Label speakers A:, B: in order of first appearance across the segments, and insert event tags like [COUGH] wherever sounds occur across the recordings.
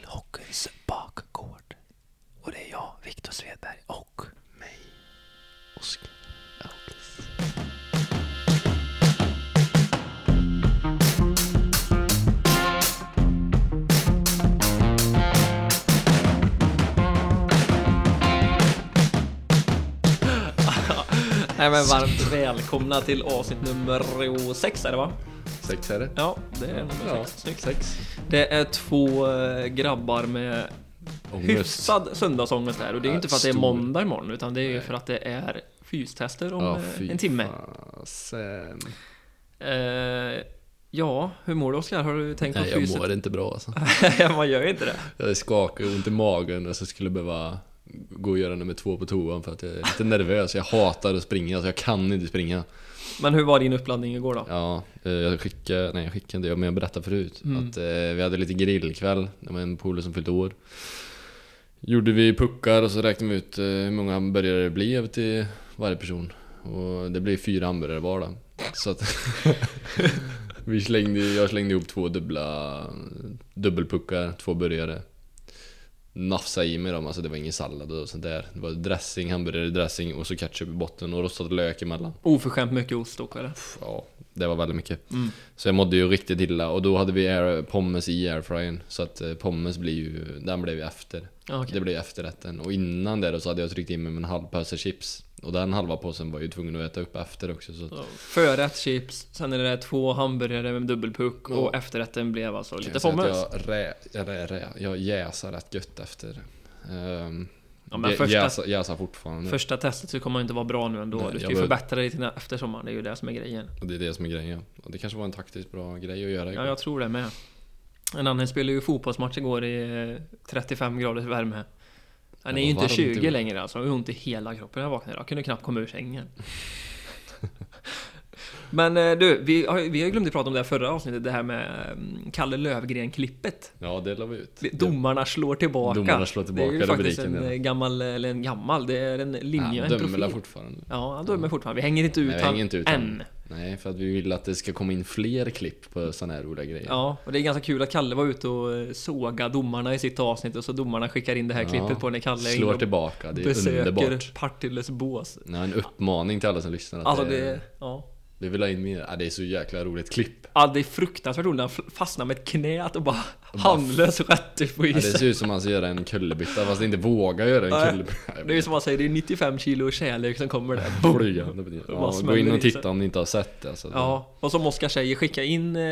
A: Sons bakgård. Och det är jag, Viktor Svedberg och mig, Oskar August.
B: [LAUGHS] Nej men varmt välkomna till avsnitt nummer sex är det va?
A: Sex är det?
B: Ja, det är nummer sex. Snyggt.
A: sex.
B: Det är två eh, grabbar med
A: Ångest.
B: hyfsad söndagsångest här och det är ju inte för att det är
A: Stor.
B: måndag imorgon utan det är ju för att det är fystester om
A: Ja,
B: eh,
A: fy
B: en timme.
A: Fasen.
B: Eh, ja, hur mår du Oskar? Har du tänkt på
A: Nej, jag
B: fyset? [LAUGHS]
A: mår inte bra alltså.
B: Man gör ju inte det.
A: Jag skakar, ont i magen och så skulle jag behöva gå och göra nummer två på toan för att jag är lite nervös. Jag hatar att springa, så jag kan inte springa.
B: Men hur var din uppladdning igår då?
A: Ja, eh, jag skickade, nej jag skickade inte, jag- men jag berättade förut att eh, vi hade lite grillkväll, det var en polare som fyllde år. Gjorde vi puckar och så räknade vi ut eh, hur många hamburgare det blev till varje person. Och det blev fyra hamburgare var då. Så att [LAUGHS] vi slängde, jag slängde ihop två dubbla, dubbelpuckar, två burgare. Nafsa i mig dem, alltså det var ingen sallad och sånt där. Det var dressing, hamburgare, dressing och så ketchup i botten och rostad lök emellan.
B: Oförskämt mycket ost dock eller?
A: Ja, det var väldigt mycket.
B: Mm.
A: Så jag mådde ju riktigt illa och då hade vi air, pommes i airfryern. Så att eh, pommes blir ju, den blev ju efter.
B: Ja, okej.
A: Det blev efterrätten. Och innan det då så hade jag tryckt in mig med en halv påse chips. Och den halva påsen var jag ju tvungen att äta upp efter också. Så att,
B: Så, Förrätt chips, sen är det två hamburgare med dubbelpuck och
A: Ja.
B: efterrätten blev alltså
A: kan
B: lite
A: jag säga att
B: pommes.
A: Jag, rä, jag, rä, rä, jag jäsar rätt gött efter. Um,
B: Ja, men första-
A: jäsa, jäsa fortfarande.
B: Första testet så kommer det inte vara bra nu ändå.
A: Nej,
B: du ska
A: jag
B: ju
A: var-
B: förbättra dig till nä- efter sommaren. Det är ju det som är grejen.
A: Och det är det som är grejen. Och det kanske var en taktiskt bra grej att göra.
B: Ja, jag tror det med. En annan spelade ju fotbollsmatch igår i eh, 35 graders värme. Han
A: Det
B: är ju
A: var
B: inte
A: varmt
B: 20
A: igår.
B: längre alltså. Han har ont i hela kroppen när jag vaknade. Jag kunde knappt komma ur
A: [LAUGHS]
B: sängen. Men eh, du, vi har, vi har ju glömt att prata om det här förra avsnittet. Det här med eh, Kalle Lövgren-klippet.
A: ja det la vi ut.
B: Domarna slår tillbaka.
A: Domarna slår
B: Det är
A: tillbaka
B: ju faktiskt en
A: rubriken, ja.
B: eh, gammal, eller en gammal, det är en linje,
A: Ja,
B: en
A: dömer
B: profil.
A: väl fortfarande.
B: Ja, han dömer fortfarande. Vi hänger inte ut
A: Nej, vi
B: han
A: hänger inte ut
B: än.
A: Nej, för att vi vill att det ska komma in fler klipp på såna här roliga grejer.
B: Ja, och det är ganska kul att Kalle var ute och eh, såga domarna i sitt avsnitt och så domarna skickar in det här
A: Ja,
B: klippet på när Kalle är
A: Slår
B: inne och
A: tillbaka, det är underbart.
B: besöker Partilles bås.
A: Ja, en uppmaning till alla som lyssnar att
B: Alltså
A: det,
B: det, ja.
A: vi vill ha in mer. Ja, det är så jäkla roligt klipp.
B: ja, det är fruktansvärt roligt när han f- fastnar med ett knät och bara handlös rätt ut på
A: Ja, det
B: isen.
A: ser ut som att man ska göra en kullerbytta fast inte vågar göra
B: Nej.
A: en kullerbytta.
B: Det är ju som han säger, det är 95 kilo kärlek som kommer där.
A: Boom! Flygande. Ja,
B: smäller
A: gå in
B: i
A: och
B: sig.
A: titta om ni inte har sett det. Alltså.
B: Ja, och som Oskar säger, skicka in eh,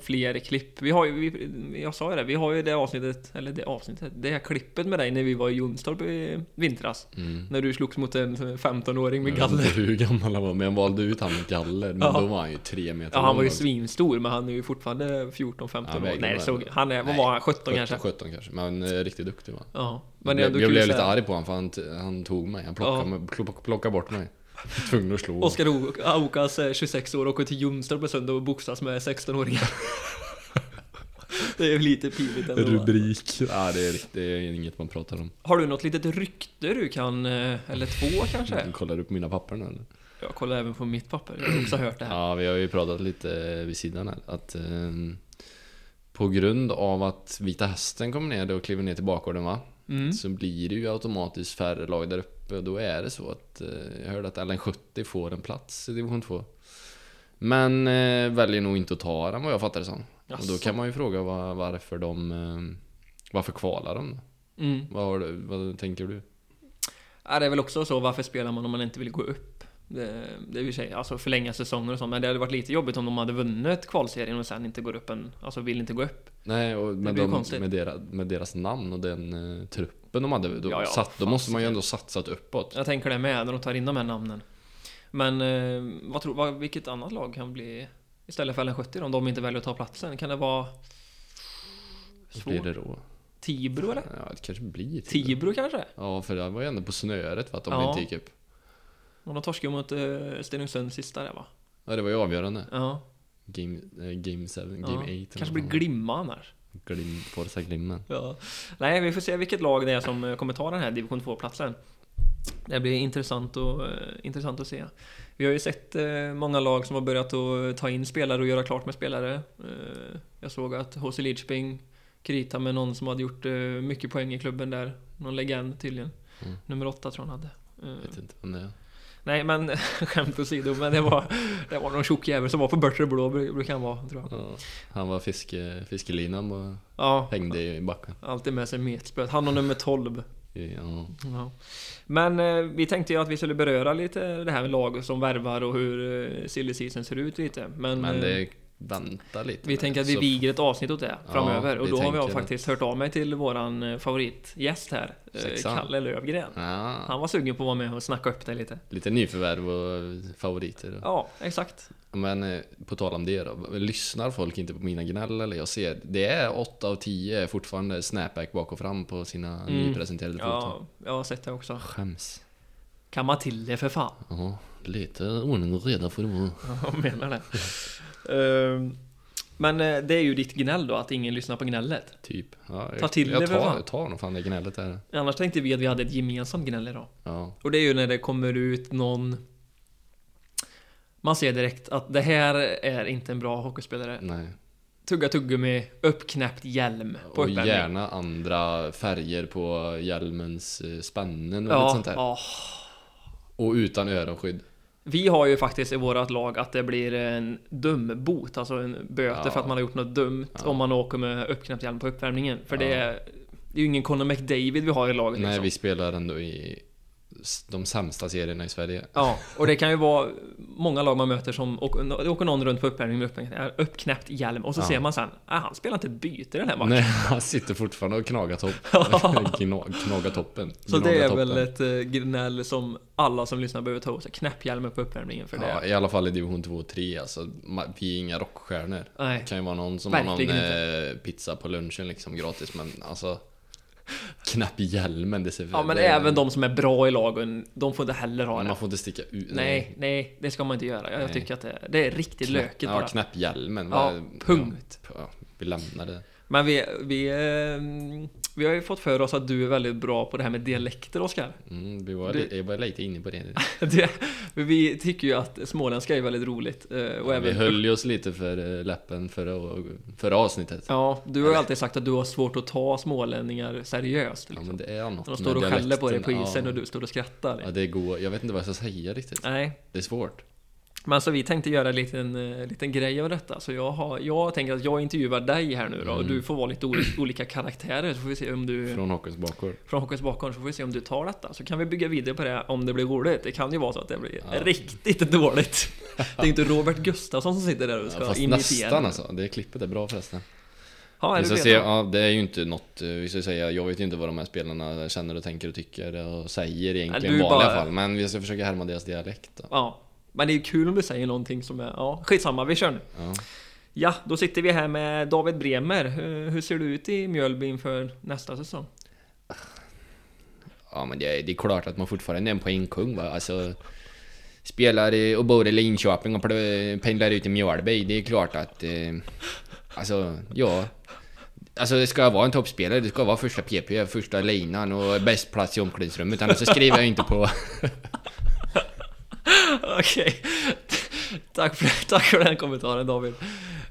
B: fler klipp. Vi har ju, vi, jag sa ju det, vi har ju det avsnittet, eller det avsnittet, det här klippet med dig när vi var i Jonstorp i vintras.
A: Mm.
B: När du slogs mot en 15-åring med
A: Jag vet inte
B: galler.
A: hur gammal han var, men jag valde ut han med galler. Men
B: Ja.
A: då var han ju tre meter
B: Ja, han var ju
A: lång.
B: svinstor, men han är ju fortfarande 14-15
A: Ja,
B: år.
A: vägen
B: Nej,
A: var-
B: så, han är, vad
A: Nej,
B: var han? 17
A: 17
B: kanske?
A: 17 kanske, men eh, riktigt duktig va.
B: Ja,
A: Men
B: men det är
A: jag,
B: ändå
A: jag
B: kul
A: blev
B: så
A: lite
B: här.
A: arg på honom för han, t- han tog mig, han plockade,
B: Ja.
A: mig, plock- plockade bort mig. Tvungen att slå honom.
B: Oskar O- Aukas, eh, 26 år, åker till Jonstorp en söndag och boxas med
A: [LAUGHS]
B: 16-åringar. det är ju lite pinigt ändå. va?
A: Rubrik. Ja, det är, rikt- det är inget man pratar om.
B: Har du något litet rykte du kan, eh, eller två kanske?
A: Du kollar upp mina papper nu eller?
B: Jag kollar även på mitt papper, jag har också hört det här.
A: Ja, vi har ju pratat lite eh, vid sidan här. Att eh, på grund av att Vita Hästen kommer ner och kliver ner till bakgården va?
B: Mm.
A: Så blir det ju automatiskt färre lag där uppe. Och då är det så att eh, jag hörde att LN70 får en plats i division 2. Men eh, väljer nog inte att ta den vad jag fattar det som. Och då
B: Jaså.
A: kan man ju fråga var, varför de... Eh, varför kvalar de då?
B: Mm.
A: Vad, har du, vad tänker du?
B: Ja, det är väl också så, varför spelar man om man inte vill gå upp? Det, det är i och för sig, alltså förlänga säsonger och sånt, men det hade varit lite jobbigt om de hade vunnit kvalserien och sen inte går upp en, alltså vill inte gå upp.
A: Nej, och med,
B: blir ju
A: de,
B: konstigt.
A: med, deras, med deras namn och den eh, truppen de hade. Då,
B: Ja, ja,
A: satt, då
B: fan,
A: måste man ju ändå satsat uppåt.
B: Jag tänker det med, när de tar in de här namnen. Men eh, vad tror, vad, vilket annat lag kan bli istället för LN70 om de inte väljer att ta platsen? Kan det vara
A: Vad blir
B: svårt?
A: det då?
B: Tibro eller?
A: Ja, det kanske blir Tibro.
B: Tibro kanske?
A: Ja, för det var ju ändå på snöret för att de
B: Ja.
A: inte gick upp.
B: Och de torskade ju mot eh, Stenungsund sista där va?
A: Ja, det var ju avgörande.
B: Ja.
A: Game 7, game 8.
B: ja.
A: Game eight eller
B: Kanske
A: vad
B: blir
A: fan.
B: Glimma annars.
A: Glim, Forza Glimmen.
B: Ja. Nej, vi får se vilket lag det är som eh, kommer ta den här division 2-platsen. Det blir intressant, och, eh, intressant att se. Vi har ju sett eh, många lag som har börjat att ta in spelare och göra klart med spelare. Eh, jag såg att HC Lidköping Krita med någon som hade gjort eh, mycket poäng i klubben där. Någon legend tydligen.
A: Mm.
B: Nummer åtta tror jag han hade. Eh,
A: Vet inte vem det är.
B: nej men [LAUGHS] skämt åsido, men det var, det var någon tjock jävel som var på Börtre Blå, bru- brukar han vara tror jag.
A: Ja, han var fiske, fiskelinan och
B: Ja,
A: hängde i backen.
B: alltid med sig metspöet. Han har nummer 12.
A: Ja,
B: Ja. Men eh, vi tänkte ju att vi skulle beröra lite det här med lag som värvar och hur eh, silly season ser ut lite. Men,
A: men
B: eh,
A: det vänta lite.
B: vi
A: med.
B: tänker att vi
A: Så-
B: viger ett avsnitt åt det
A: Ja,
B: framöver. och
A: vi
B: då har jag
A: tänker det.
B: faktiskt hört av mig till våran eh, favoritgäst här, eh,
A: Sexan.
B: Kalle Lövgren.
A: Ja,
B: Han var sugen på att vara med och snacka upp det lite.
A: lite nyförvärv och favoriter. Och.
B: Ja, exakt.
A: Men eh, på tal om det då. Lyssnar folk inte på mina gnäll eller? Jag ser, det är 8 av 10 fortfarande snapback bak och fram på sina
B: Mm.
A: nypresenterade foton.
B: Ja, jag har sett det också.
A: Skäms.
B: Kamma till det för fan.
A: Ja, lite ordning och reda får det vara.
B: Jag menar det. Ehm, Men eh, det är ju ditt gnäll då, att ingen lyssnar på gnället.
A: Typ. Ja, jag,
B: Ta till
A: jag
B: det för
A: tar,
B: fan.
A: Jag tar nog fan det gnället där.
B: Annars tänkte vi att vi hade ett gemensamt gnäll idag.
A: Ja.
B: Och det är ju när det kommer ut någon Man ser direkt att det här är inte en bra hockeyspelare.
A: Nej.
B: Tugga tuggummi, uppknäppt hjälm på
A: Och
B: uppvärmning.
A: gärna andra färger på hjälmens eh, spannen och lite
B: Ja,
A: sånt där.
B: ja.
A: Och utan öronskydd.
B: Vi har ju faktiskt i vårat lag att det blir en dumbot, alltså en böter
A: Ja.
B: för att man har gjort något dumt om man åker med uppknäppt hjälm på uppvärmningen. För det,
A: Ja.
B: är, det är ju ingen Conor McDavid vi har i laget.
A: Nej,
B: liksom.
A: vi spelar ändå i s- de sämsta serierna i Sverige.
B: Ja, och det kan ju vara många lag man möter som åker, det åker någon runt på uppvärmning med uppknäppt- uppknäppt hjälm och så
A: Ja.
B: ser man sen, ah, han spelar inte ett byte i den här matchen.
A: Nej, [LAUGHS] han sitter fortfarande och
B: [LAUGHS]
A: knagar topp. [LAUGHS] Gna- knagar toppen.
B: Så
A: Gnagar
B: det är
A: toppen.
B: väl ett eh, gnäll som alla som lyssnar behöver ta åt sig. Knäpphjälmen på uppvärmningen för
A: Ja,
B: det.
A: i alla fall i division 2 och 3 alltså, ma- Vi är inga rockstjärnor.
B: Nej.
A: Det kan ju vara någon som
B: Verkligen
A: har någon eh, pizza på lunchen liksom gratis men alltså [LAUGHS] Knäpp i hjälmen, det ser
B: Ja men
A: det,
B: även de som är bra i lagen, de får inte heller ha det.
A: Man får inte sticka ut
B: Nej, nej, det ska man inte göra. Jag
A: Nej.
B: tycker att det, det är riktigt löket
A: Ja,
B: bara.
A: knäpp hjälmen
B: Ja,
A: Vad-
B: punkt.
A: ja, ja, Vi lämnar det
B: Men vi, vi, eh, vi har ju fått för oss att du är väldigt bra på det här med dialekter, Oskar.
A: mm, vi var,
B: Du-
A: li- jag var lite inne på det
B: Det- Vi tycker ju att småländska är väldigt roligt. eh, [LAUGHS] Och
A: Vi
B: även,
A: höll ju oss lite för eh, läppen förra, förra avsnittet ja,
B: Ja, du har ju alltid sagt att du har svårt att ta smålänningar seriöst. Liksom.
A: men det är något
B: De
A: med
B: står och skäller på dig på
A: dialekten,
B: isen
A: ja.
B: och du står och skrattar.
A: Ja, det går, jag vet inte vad jag ska säga riktigt
B: Nej,
A: Det är svårt
B: men så vi tänkte göra en liten, eh, liten grej av detta. Så jag, har, jag tänker att jag intervjuar dig här nu då och du får vara lite ol- olika karaktärer så får vi se om du...
A: Mm. Från hockeyns bakgård
B: Från Hockeyns bakom så får vi se om du tar detta. Så kan vi bygga vidare på det om det blir roligt. Det kan ju vara så att det blir
A: Ja.
B: riktigt dåligt. Det är inte Robert Gustafsson som sitter där och ska
A: ja, Fast
B: imitera.
A: nästan alltså, det klippet är bra förresten
B: Ja, är
A: Vi
B: du
A: ska
B: vet
A: se,
B: det.
A: ja, det är ju inte något, eh, vi ska säga, jag vet ju inte vad de här spelarna känner och tänker och tycker och säger egentligen
B: du
A: i vanliga
B: bara-
A: fall Men vi ska försöka härma deras dialekt då.
B: ja. Men det är ju kul om du säger någonting som är... Ja, skitsamma, vi kör nu.
A: Ja.
B: Ja, då sitter vi här med David Bremer. Hur, hur ser du ut i Mjölby inför nästa säsong? [LAUGHS]
A: ja men det, är- det är klart att man fortfarande är en poängkung va, alltså Spelar i- och bor i Linköping och plö- pendlar ut i Mjölby, det är klart att eh, Alltså, ja Alltså det ska vara en toppspelare, det ska vara första PP, första linan och bäst plats i omklädningsrummet annars så skriver jag inte på
B: Okej. Tack, för, tack för den kommentaren David.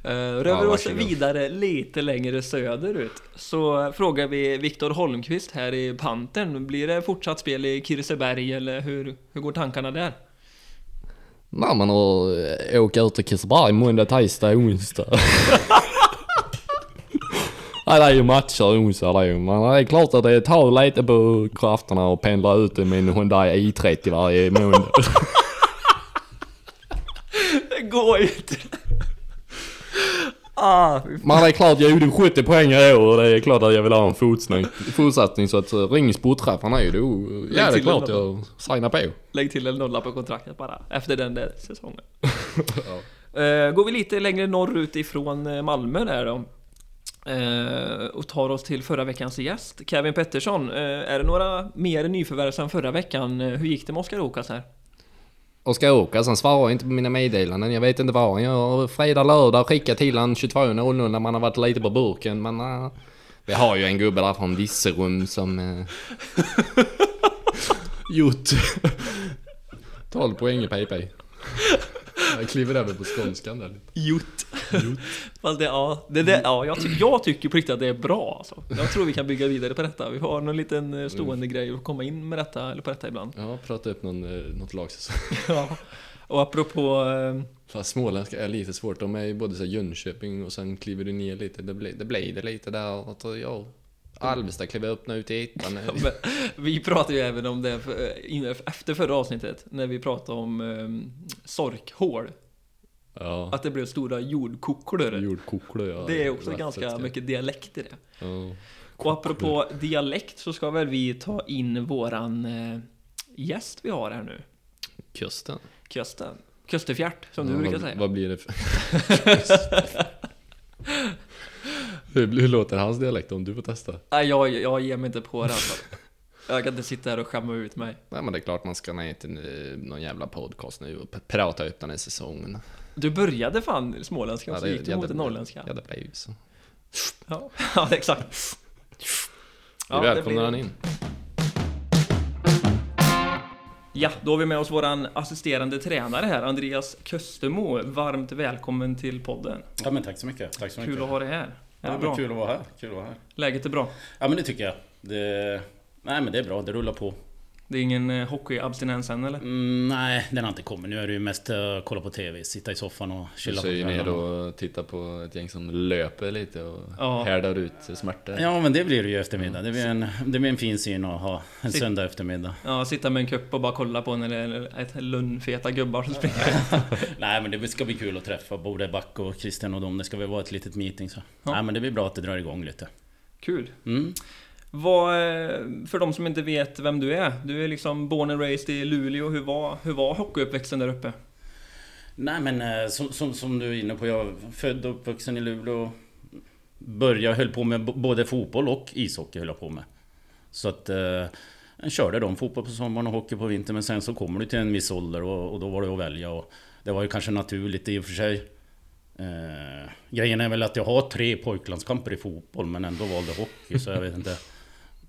B: Eh, Rör vi oss
A: varsågod.
B: vidare lite längre söderut så frågar vi Viktor Holmqvist här i Pantern. Blir det fortsatt spel i Kirseberg eller hur, hur går tankarna där? [LAUGHS]
A: Nej men och eh, åka ut till Kristineberg måndag, tisdag, [LAUGHS] onsdag. Nej det är ju matcher onsdag det är ju, men det är klart att det tar lite på krafterna och pendla ut i min Hyundai i30 varje [LAUGHS] måndag.
B: Det går ju inte! [LAUGHS] Ah, fy
A: Men det är klart jag gjorde 70 poäng i år och det är klart att jag vill ha en fortsättning, fortsättning så att eh, ring sportträffarna ju då. Ja det är
B: till
A: klart
B: den
A: jag signar på.
B: Lägg till en nolla på kontraktet bara, efter den där säsongen. Eh, går vi lite längre norrut ifrån eh, Malmö där då. Eh, och tar oss till förra veckans gäst, Kevin Pettersson. Eh, är det några mer nyförvärv sen förra veckan? Eh, Hur gick det med Oskar Okas här?
A: Och ska åka, sen svarar jag inte på mina meddelanden. Jag vet inte vad han gör. Fredag, lördag skickar till han 22.00 när man har varit lite på burken. Men eh, vi har ju en gubbe där från Virserum som... [LAUGHS] eh, gjort 12 poäng i PP. Jag kliver även på skånskan där.
B: Jut. [LAUGHS] Fast det, ja, det, det, ja, jag, ty- jag tycker på riktigt att det är bra alltså. Jag tror vi kan bygga vidare på detta. Vi har någon liten eh, stående grej att komma in med detta, eller på detta
A: [LAUGHS]
B: ibland.
A: Ja, prata upp någon, eh, något lagsäsong.
B: Ja. Och apropå... eh,
A: Fast småländska är lite svårt. De är ju både så här Jönköping och sen kliver du ner lite. Det blir det, blir det lite där. Och så, ja. Alvestad kliver upp nu ut i ettan.
B: Men, vi pratade ju även om det för- innan- efter förra avsnittet, när vi pratade om um, sorkhål.
A: [LAUGHS] Ja,
B: Att det blev stora jordkoklor.
A: jordkoklor ja.
B: Det är också
A: Rätt
B: ganska
A: fett, ja.
B: mycket dialekt i det.
A: Ja.
B: Och apropå dialekt så ska väl vi ta in våran eh, gäst vi har här nu.
A: Kusten.
B: Kösten. Köstefjärt, som du
A: Ja,
B: brukar
A: vad,
B: säga.
A: Vad blir det för... [LAUGHS] hur, hur låter hans dialekt om du får testa?
B: Nej, jag, jag ger mig inte på det alltså.
A: [LAUGHS]
B: Jag kan inte sitta här och skämma ut mig.
A: Nej men det är klart man ska ner till eh, någon jävla podcast nu och p- prata upp den här säsongen.
B: Du började fan småländska och så
A: det-
B: gick du mot det
A: blir-
B: norrländska.
A: Ja, det blir ju så.
B: Ja, [LAUGHS] ja exakt.
A: Vi
B: Ja, det
A: välkomnar
B: blir-
A: han in.
B: Ja, då har vi med oss våran assisterande tränare här, Andreas Köstemo. Varmt välkommen till podden.
C: Ja men tack så mycket. Tack så mycket.
B: Kul att ha dig här. Är
C: ja,
B: det
C: men
B: bra?
C: Kul att vara här. Kul att vara här.
B: Läget är bra.
C: Ja men det tycker jag. Det... Nej men det är bra, det rullar på.
B: Det är ingen eh, hockeyabstinens än eller?
C: Mm, nej, den har inte kommit. Nu är det ju mest eh, kolla på TV, sitta i soffan och
A: Du
C: chilla. på
A: ser ju ner
C: kvällarna.
A: och tittar på ett gäng som löper lite och
B: Ja.
A: härdar ut smärtor.
C: Ja men det blir det ju i
A: Mm.
C: eftermiddag. Det blir en, det blir en fin syn att ha en söndag eftermiddag.
B: Ja, sitta med en kupp och bara kolla på när det är ett lönnfeta gubbar som springer.
C: Nej men det ska bli kul att träffa både Back och Christian och dem. Det ska väl vara ett litet meeting så.
B: Ja.
C: Nej men det blir bra att det drar igång lite.
B: [LAUGHS] Kul.
C: Mm.
B: Vad, eh, för de som inte vet vem du är. Du är liksom born and raised i Luleå. Hur var, hur var hockeyuppväxten där uppe?
C: Nej men eh, som, som, som du är inne på, jag är född och uppvuxen i Luleå. Började, höll på med b- både fotboll och ishockey höll jag på med. Så att... Eh, jag körde de fotboll på sommaren och hockey på vintern men sen så kommer du till en viss ålder och, och då var det att välja och Det var ju kanske naturligt i och för sig. Eh, grejen är väl att jag har tre pojklandskamper i fotboll men ändå valde hockey så jag vet inte.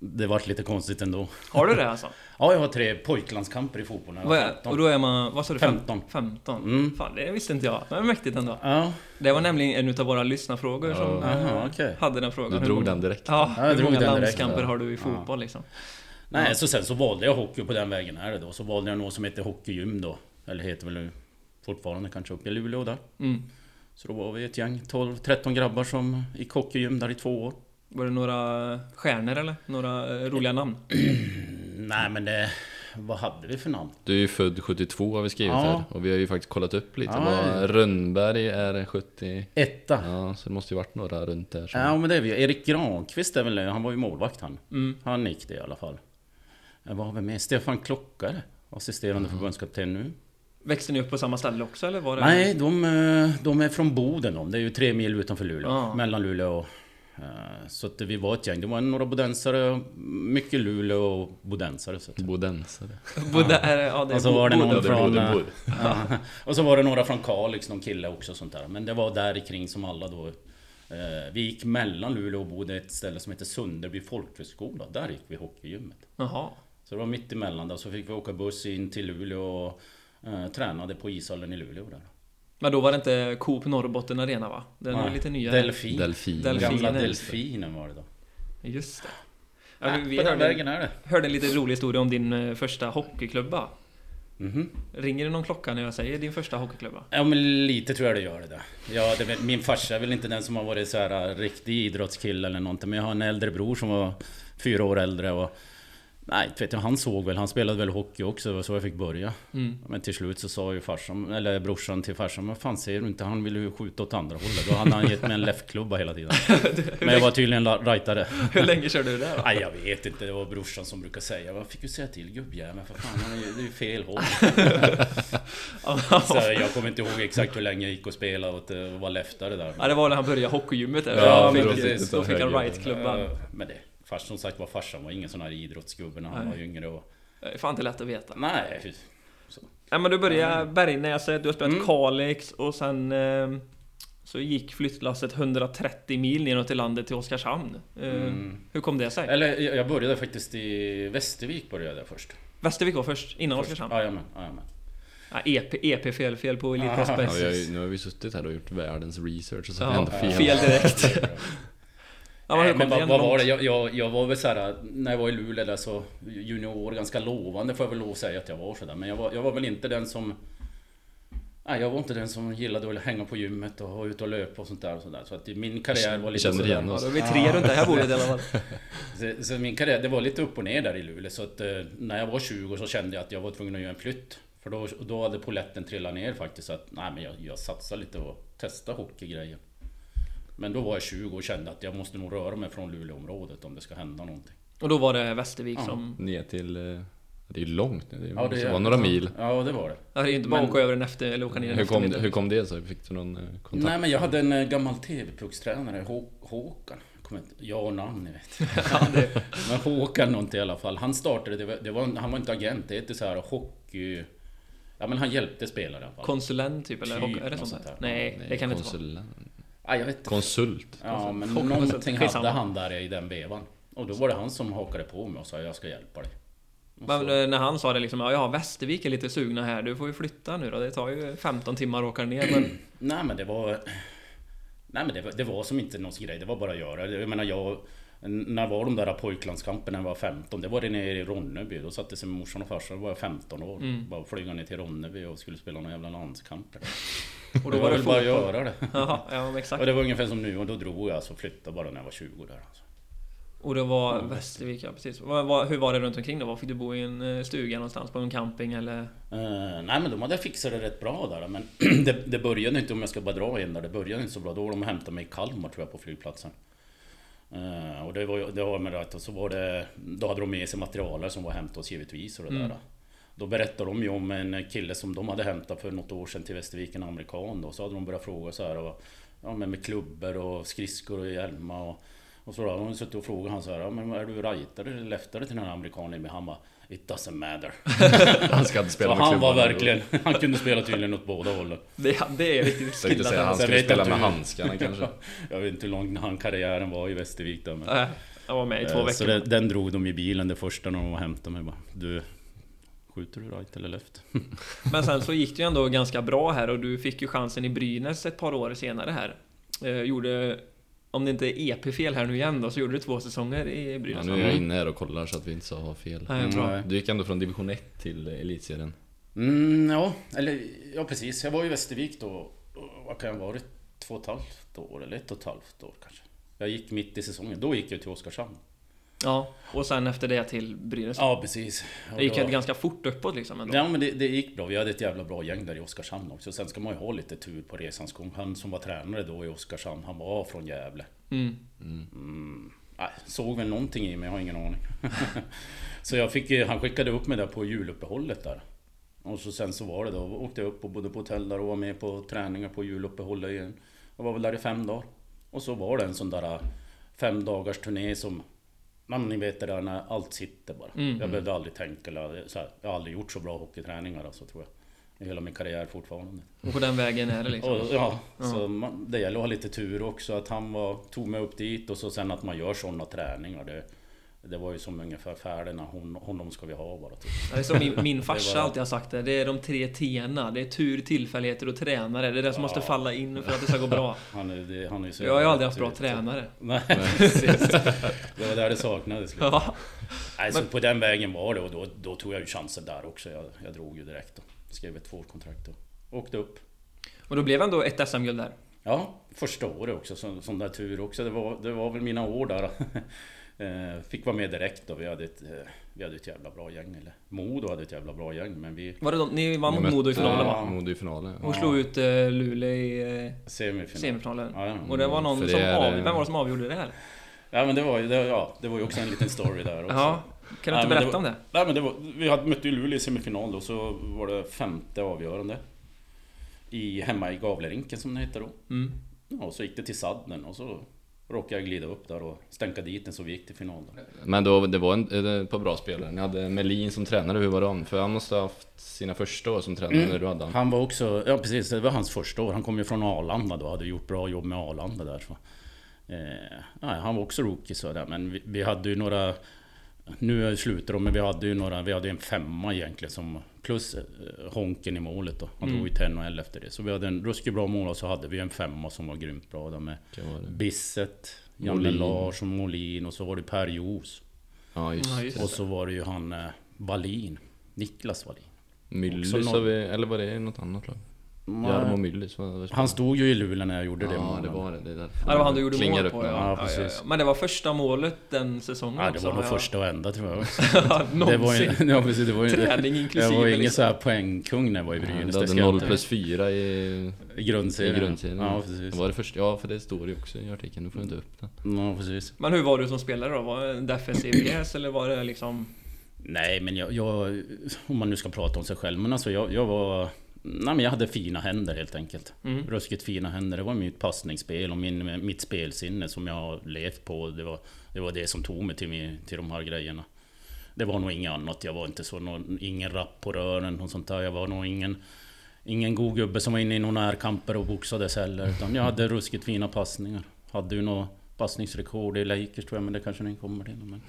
C: Det vart lite konstigt ändå.
B: Har du det alltså?
C: Ja, jag har tre pojklandskamper i fotboll när jag
B: Vad
C: var
B: är,
C: 15.
B: och då är man, vad sa du? fem-
C: 15.
B: 15?
C: Mm.
B: Fan, det visste inte jag. Men mäktigt ändå.
C: Ja,
B: Det var nämligen en av våra lyssnarfrågor som eh,
C: Aha, okej.
B: hade den frågan.
A: Du
B: Hur
A: drog
B: många-
A: den direkt.
B: Ja,
C: Ja, jag
B: hur
C: drog
B: många
C: den direkt,
B: landskamper
C: ja.
B: har du i
C: Ja.
B: fotboll liksom?
C: Nej, så sen så valde jag hockey på den vägen här då. Så valde jag något som heter Hockeygym då. Eller heter väl nu fortfarande kanske uppe i Luleå där.
B: Mm.
C: Så då var vi ett gäng, 12-13 grabbar som gick hockeygym där i två år.
B: Var det några stjärnor eller? Några eh, roliga namn?
C: Mm, Nej men det... Vad hade vi för namn?
A: Du är ju född 72 har vi skrivit
C: Ja.
A: här och vi har ju faktiskt kollat upp lite.
C: Ja,
A: Vad
C: ja.
A: Rönnberg är 70.
C: Etta. Ja.
A: Ja, så det måste ju varit några runt där. Som...
C: men det är vi. Erik Granqvist är väl Han var ju målvakt han.
B: Mm.
C: Han gick det i alla fall. Eh, Vad har vi med? Stefan Klockare. Assisterande förbundskapten nu.
B: Växte ni upp på samma ställe också eller var det?
C: Nej, de, eh, de är från Boden de. Det är ju tre mil utanför Luleå.
B: Ja.
C: Mellan Luleå och... eh, Så att vi var ett gäng. Det var några bodensare, mycket Luleå och bodensare. Så att.
A: Bodensare.
B: Bodde, är det, ja, det är
C: Och så
A: Alltså-
B: Bo-
C: var det
B: Boden.
C: någon
A: Bodde,
C: från...
A: Bodde,
C: eh,
A: Bodde.
C: [LAUGHS] ja. Och så var det några från Kalix, någon kille också och sånt där. Men det var där kring som alla då... eh, Vi gick mellan Luleå och Boden, ett ställe som heter Sunderby folkhögskola. Där gick vi hockeygymmet.
B: Jaha.
C: Så det var mitt emellan där. Så fick vi åka buss in till Luleå och eh, tränade på ishallen i Luleå där.
B: Men då var det inte Coop Norrbotten Arena va? Den är
C: Nej,
B: lite nyare.
C: Delfin.
A: Delfin.
B: Delfin.
C: Gamla
B: Delfinen.
C: Delfinen var det då.
B: Just det. Ja,
C: Ja,
B: vi- vi
C: på den
B: hörde,
C: vägen är det.
B: hörde en lite rolig historia om din eh, första hockeyklubba.
C: Mhm.
B: Ringer det någon klocka när jag säger din första hockeyklubba?
C: Ja men lite tror jag det gör det där. Ja, det, är väl- min farsa är väl inte den som har varit så här äh, riktig idrottskille eller någonting. Men jag har en äldre bror som var fyra år äldre och... Nej, inte vet jag, han såg väl. Han spelade väl hockey också. Det var så jag fick börja.
B: Mm.
C: Men till slut så sa ju farsan, eller brorsan till farsan, vad fan ser du inte? Han ville ju skjuta åt andra hållet. Då hade han gett mig en leftklubba
B: [LAUGHS]
C: hela tiden. Men jag var tydligen la- rightare.
B: Hur länge körde du det då?
C: Nej jag vet inte, det var brorsan som brukade säga Vad fick du säga till gubbjäveln? För fan, han är ju- det är ju fel håll så Jag kommer inte ihåg exakt hur länge jag gick och spelade och att, eh, var leftare där
B: Ja det var när han började hockeygymmet där.
C: Ja,
B: Då fick-
A: precis.
B: Då fick han right-klubban.
C: Eh, Men det, fars, som sagt var farsan var ingen sån här idrottsgubbe när han
B: Nej.
C: var yngre och...
B: Det är fan inte lätt att veta.
C: Nej, fy-
B: Ja, men du började Bergnäset, du har spelat
C: Mm.
B: Kalix och sen eh, så gick flyttlasset 130 mil neråt i landet till Oskarshamn. Eh,
C: Mm.
B: Hur kom det sig?
C: Eller jag jag började faktiskt i Västervik började jag först
B: Västervik var först, innan
C: Först.
B: Oskarshamn. E
C: Jajamän, jajamän.
B: Ja, EP, EP fel, fel på Elitproffs
C: Ja,
A: Ja, vi har,
B: Basis.
A: ju- nu har vi suttit här och gjort världens research och så
B: Ja,
A: ändå
B: fel.
A: fel.
B: direkt. Ja,
C: Nej,
B: men
C: Eh,
B: kom
C: men vad,
B: igen,
C: vad var det?
B: långt.
C: Jag, jag, jag var väl så här eh, när jag var i Luleå där så junior, ganska lovande får jag väl lov att säga att jag var sådär. Men jag var, jag var väl inte den som... Nej, jag var inte den som gillade att hänga på gymmet och vara ute och löpa och sånt där. Och sånt där. Så att i min karriär var lite
A: känner
C: sådär.
A: igen
B: Ja,
A: oss.
B: då är vi tre runt det här bordet i
C: [LAUGHS]
B: alla fall.
C: Så, så min karriär, det var lite upp och ner där i Luleå. Så att eh, när jag var 20 så kände jag att jag var tvungen att göra en flytt. För då, då hade poletten trillat ner faktiskt. Så att nej, men jag, jag satsar lite och testa hockeygrejen. Men då var jag 20 och kände att jag måste nog röra mig från Luleåområdet om det ska hända någonting.
B: Och då var det Västervik som...
A: Ner till... eh, Det är ju långt nu. Det,
C: Ja,
A: måste vara några mil.
C: Ja, det var det.
B: Ja, Det är inte bara
C: Men-
B: åka över den efter, eller åka ner den
A: Hur kom,
B: eftermiddag.
A: det- hur kom det sig? Fick du någon eh, kontakt?
C: Nej, men jag hade en eh, gammal TV-puckstränare, Hå- Håkan. Kommer inte- Ja och namn, ni vet. men Håkan någonting i alla fall. Han startade, det var, det var, en- han var inte agent, det hette så här hockey... Ja, men han hjälpte spelare i alla fall.
B: Konsulent typ, eller?
C: Typ
B: är det
C: något
B: sånt där?
C: sånt där.
B: Nej, det kan det inte vara.
A: konsulent.
C: Ja, jag vet inte.
A: Konsult.
C: Ja, men
B: Hockey-
C: någonting
B: Skitsamma.
C: hade han där i den vevan. Och då var det han som hakade på mig och sa jag ska hjälpa dig. Och
B: Men
C: så-
B: eh, när han sa det liksom, ja, ja Västervik är lite sugna här, du får ju flytta nu då. Det tar ju 15 timmar att åka ner. Men
C: Nej men det var... Nej men det var, det var som inte någon grej, det var bara att göra. Jag menar jag... När var de där pojklandskamperna när jag var 15? Det var det nere i Ronneby. Då satte sig morsan och farsan, då var jag 15 år.
B: Mm.
C: Bara flyga ner till Ronneby och skulle spela några jävla landskamper.
B: och då var det
C: väl bara att
B: fotboll.
C: göra det.
B: Jaha, [LAUGHS] ja men
C: Och
B: exakt.
C: det var ungefär som nu och då drog jag alltså, flyttade bara när jag var 20 där. Alltså.
B: Och det var Västervik, ja precis. Vad- vad- hur var det runt omkring då? Var Fick du bo i en eh, stuga någonstans? På en camping eller? [LAUGHS]
C: Eh, nej men de hade fixat det rätt bra där men [CLEARS THROAT] det, det började inte, om jag ska bara dra in där, det började inte så bra. Då var de och hämtade mig i Kalmar tror jag på flygplatsen. Eh, och det var, ju- det var med rätt och så var det, då hade de med sig materialare som var hämtat oss givetvis och det där. Då berättade de ju om en kille som de hade hämtat för något år sedan till Västervik, en amerikan då. Så hade de börjat fråga så här och, ja, men med klubbor och skridskor och hjälmar och, och så då hade de suttit och frågat han så här, ja, men är du rightare eller leftare till den här amerikanen? Men han bara, It doesn't matter.
A: Han ska inte spela
C: Så
A: med
C: han var
A: klubban.
C: verkligen, [LAUGHS] han kunde spela tydligen åt båda hållen. [LAUGHS]
B: Det, det är riktigt
A: Jag tänkte
B: skillat.
A: säga han
C: Jag
A: skulle
C: vet
A: spela
C: inte
A: med
C: hur-
A: handskarna kanske.
C: Jag vet inte hur lång han karriären var i Västervik där men...
B: Nej, Jag var med i två
C: Eh, Så
B: veckor.
C: det, den drog de i bilen det första när de var och hämtade mig bara Du, skjuter du right eller left?
B: Men sen så gick det ju ändå ganska bra här och du fick ju chansen i Brynäs ett par år senare här. Eh, gjorde, om det inte är EP-fel här nu igen då, så gjorde du två säsonger i
A: Ja,
B: Brynäs.
A: nu är jag inne här och kollar så att vi inte ska ha fel.
B: Nej,
C: [LAUGHS]
B: bra.
C: Nej.
A: Du gick ändå från division 1 till eh, elitserien.
C: Mm, ja, eller ja precis. Jag var i Västervik då, och vad kan jag ha varit? Två och ett halvt år eller ett och ett halvt år kanske. Jag gick mitt i säsongen, då gick jag till Oskarshamn.
B: Ja, och sen efter det till Brynäs.
C: Ja precis. Och
B: det gick
C: då-
B: ju ganska fort uppåt liksom ändå.
C: Ja men det, det gick bra. Vi hade ett jävla bra gäng där i Oskarshamn också. Sen ska man ju ha lite tur på resans gång. Han som var tränare då i Oskarshamn, han var från Gävle.
B: Mm.
C: Mm. Nej, såg väl någonting i mig, jag har ingen aning. [LAUGHS] så jag fick, eh, han skickade upp mig där på juluppehållet där. Och så sen så var det då, åkte jag upp och bodde på hotell där och var med på träningar på juluppehållet igen. Jag var väl där i fem dagar. Och så var det en sån där eh, fem dagars turné som Ja, men ni vet det där när allt sitter bara. Jag behövde aldrig tänka eller så här, Jag har aldrig gjort så bra hockeyträningar alltså, tror jag. I hela min karriär fortfarande.
B: Och på den vägen är det liksom.
C: Och, ja, så man, det gäller att ha lite tur också att han var, tog mig upp dit och så sen att man gör sådana träningar. Det, det var ju som ungefär färdig när hon, honom ska vi ha bara. Typ.
B: Det är som min, min farsa
C: Det var-
B: alltid har sagt det. Det är de tre T'na. Det är tur, tillfälligheter och tränare. Det är det som måste falla in för att det ska gå bra.
C: Han, är- det, han är ju [LAUGHS] så
B: Jag har ju
C: jävla
B: aldrig haft bra
C: tur, så-
B: tränare.
C: Nej, [LAUGHS] precis. Det var där det saknades. Liksom.
B: [LAUGHS] Ja.
C: Nej, så på den vägen var det och då, då tog jag ju chansen där också. Jag, jag drog ju direkt då. Skrev ett tvåårskontrakt och åkte upp.
B: Och då blev ändå ett SM-guld där.
C: Ja, första året också, som, som där tur också. Det var, det var väl mina år där. [LAUGHS] Eh, Fick vara med direkt då. Vi hade ett, eh, vi hade ett jävla bra gäng. Eller Modo hade ett jävla bra gäng, men vi...
B: Var det de, ni vann
A: Ni
B: mot Modo i
A: mötte-
B: finalen
C: Ja.
B: va?
A: Ja, Modo i finalen.
B: Och
A: Ja.
B: slog ut eh, Luleå i eh,
C: Semifinal.
B: semifinalen.
C: Ja, ja.
B: Och det var någon
A: För det
B: som
A: är-
B: avgjorde. Vem var det som avgjorde det här?
C: Ja, men det var ju det, ja, det var ju också en liten
B: [LAUGHS]
C: story där också.
B: Ja. Kan du
C: Nej,
B: inte
C: men
B: berätta
C: var,
B: om det?
C: Nej men det var, vi hade, mötte ju Luleå i semifinal då, så var det femte avgörande. I, hemma i Gavlerinken som det hette då.
B: Mm.
C: Ja, och så gick det till sadden och så råkade jag glida upp där och stänka dit den så vi gick till final. Då.
A: Men då, det var en, eh, ett par bra spelare. Ni hade Melin som tränare, hur var han? För han måste ha haft sina första år som tränare
B: Mm.
A: när du hade han.
C: Han var också, ja precis, det var hans första år. Han kom ju från Arlanda då, hade gjort bra jobb med Arlanda där. Så. Eh, nej, han var också rookie så där, men vi, vi hade ju några... Nu slutar de, men vi hade ju några, vi hade ju en femma egentligen som Plus eh, Honken i målet då. Han
A: Mm.
C: drog ju 10 och 11 efter det. Så vi hade en ruskigt bra mål och så hade vi en femma som var grymt bra. Då med
A: Kan vara det.
C: Bissett, Janne
A: Mm. Molin.
C: Larsson, Molin och så var det Per Joos.
A: Ja
B: Ja,
A: just
B: just
A: det.
C: Och så var det ju han eh, Wallin. Niklas Wallin.
A: Myllys
C: Också
A: har
C: noll.
A: vi, eller var det något annat lag? Jarmo Myllys var det
C: Han stod ju i Luleå när jag gjorde det
A: Ja det
C: målet.
A: var det. Det, är därför.
B: Ja, det var han du gjorde
A: Klingar
B: mål
A: upp
B: på
A: nu.
B: ja.
C: Ja,
B: Ja, ja,
C: precis.
B: ja. Men det var första målet den säsongen
C: Ja, det
B: också,
C: var nog
A: alltså,
B: ja.
C: första och enda tror
B: [LAUGHS]
C: jag också.
B: Ja,
C: [LAUGHS] Det var ju,
B: Någonsin.
C: ja, precis, det var ju inte,
B: Träning
C: jag var
B: inklusive
C: ju ingen så
B: liksom.
C: här poängkung när jag var i Brynäs.
A: Du
C: det
A: hade
C: ska jag
A: 0
C: inte-
A: plus 4 i,
C: I
A: i
C: grundserien.
A: grundserien.
C: Ja, precis.
A: Det var det första, ja för det står ju också i artikeln, nu får jag inte upp den.
C: Ja, precis.
B: Men hur var du som spelare då? Var det en defensiv pjäs eller var det liksom...
C: Nej, men jag, jag... Om man nu ska prata om sig själv. Men alltså jag, jag var... Nej, men jag hade fina händer helt enkelt.
B: Mm.
C: Ruskigt fina händer. Det var mitt passningsspel och min, mitt spelsinne som jag har levt på. Det var det, var det som tog mig till, min, till de här grejerna. Det var nog inget annat. Jag var inte så... Någon, ingen rapp på rören och sånt där. Jag var nog ingen... Ingen god gubbe som var inne i några närkamper och boxades heller. Utan jag hade ruskigt fina passningar. Hade ju något passningsrekord i Lakers tror jag, men det kanske ni kommer till. Men...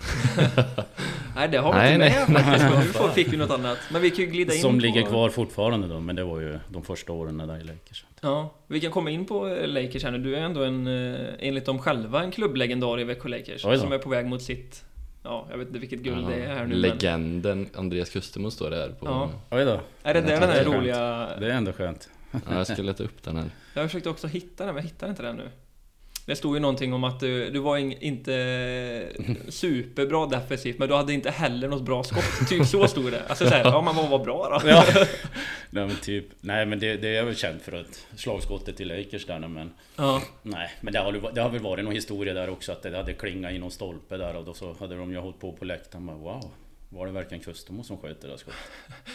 B: Nej, det har vi
A: Nej,
B: inte
A: nej.
B: med faktiskt. Men
C: [LAUGHS]
B: nu får- fick vi något annat. Men vi kan ju glida in
C: Som
B: på...
C: ligger kvar fortfarande då, men det var ju de första åren där i Lakers.
B: Ja, vi kan komma in på eh, Lakers här nu. Du är ändå en, eh, enligt dem själva, en klubblegendar i Växjö Lakers.
C: Oj då.
B: Som är på väg mot sitt... Ja, jag vet inte vilket guld
A: Ja,
B: det är här nu. Men,
A: Legenden Andreas Kustemo står det här på.
B: Ja.
A: Ja.
C: Oj då,
B: är det där
C: Jag
B: den här
C: tycker det är skönt.
B: roliga...
C: det är ändå skönt.
A: jag ska leta upp den här.
B: Jag försökte också hitta den, men jag hittar inte den nu. Det stod ju någonting om att du, du var ing- inte
C: [LAUGHS]
B: superbra defensivt, men du hade inte heller något bra skott. Typ så stod det. Alltså såhär, ja men vad var bra då?
C: Ja. nej men typ, nej men det, det är jag väl känd för att slagskottet i Lakers där men
B: [LAUGHS] Ja,
C: Nej men det har, väl- det har väl varit någon historia där också att det hade klingat i någon stolpe där och då så hade de ju hållit på på läktaren bara wow Var det verkligen Kustemo som sköt det där skottet?